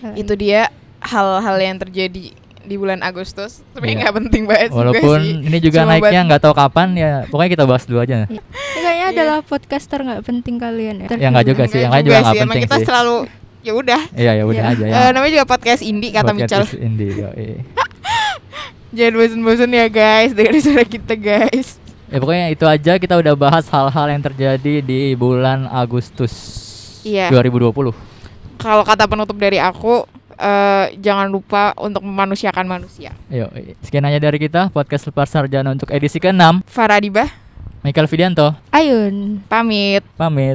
[SPEAKER 3] Kali.
[SPEAKER 1] itu dia hal-hal yang terjadi di bulan Agustus. Tapi
[SPEAKER 2] Iya.
[SPEAKER 1] nggak penting banget juga
[SPEAKER 2] Walaupun
[SPEAKER 1] sih.
[SPEAKER 2] ini juga
[SPEAKER 1] Cuma
[SPEAKER 2] naiknya
[SPEAKER 1] buat-
[SPEAKER 2] nggak tahu kapan ya, pokoknya kita bahas dulu aja.
[SPEAKER 3] Ini kayaknya adalah podcaster nggak penting kalian ya.
[SPEAKER 2] Ya, nggak juga sih, yang lain juga nggak
[SPEAKER 1] Emang
[SPEAKER 2] penting
[SPEAKER 1] kita
[SPEAKER 2] sih.
[SPEAKER 1] selalu ya udah.
[SPEAKER 2] Iya, ya udah
[SPEAKER 3] Iya.
[SPEAKER 2] aja ya.
[SPEAKER 1] Eh, namanya juga podcast indie kata
[SPEAKER 2] Podcast
[SPEAKER 1] Michel.
[SPEAKER 2] is indie, yoi.
[SPEAKER 1] Jangan bosan-bosan ya guys dengerin suara kita guys.
[SPEAKER 2] Ya pokoknya itu aja kita udah bahas hal-hal yang terjadi di bulan Agustus
[SPEAKER 1] Iya.
[SPEAKER 2] 2020.
[SPEAKER 1] Kalau kata penutup dari aku, eh, jangan lupa untuk memanusiakan manusia.
[SPEAKER 2] Ayo, sekian aja dari kita podcast Lepas Sarjana untuk edisi ke-6.
[SPEAKER 1] Faradiba
[SPEAKER 2] Michael Vidianto
[SPEAKER 3] Ayun.
[SPEAKER 1] pamit.
[SPEAKER 2] pamit.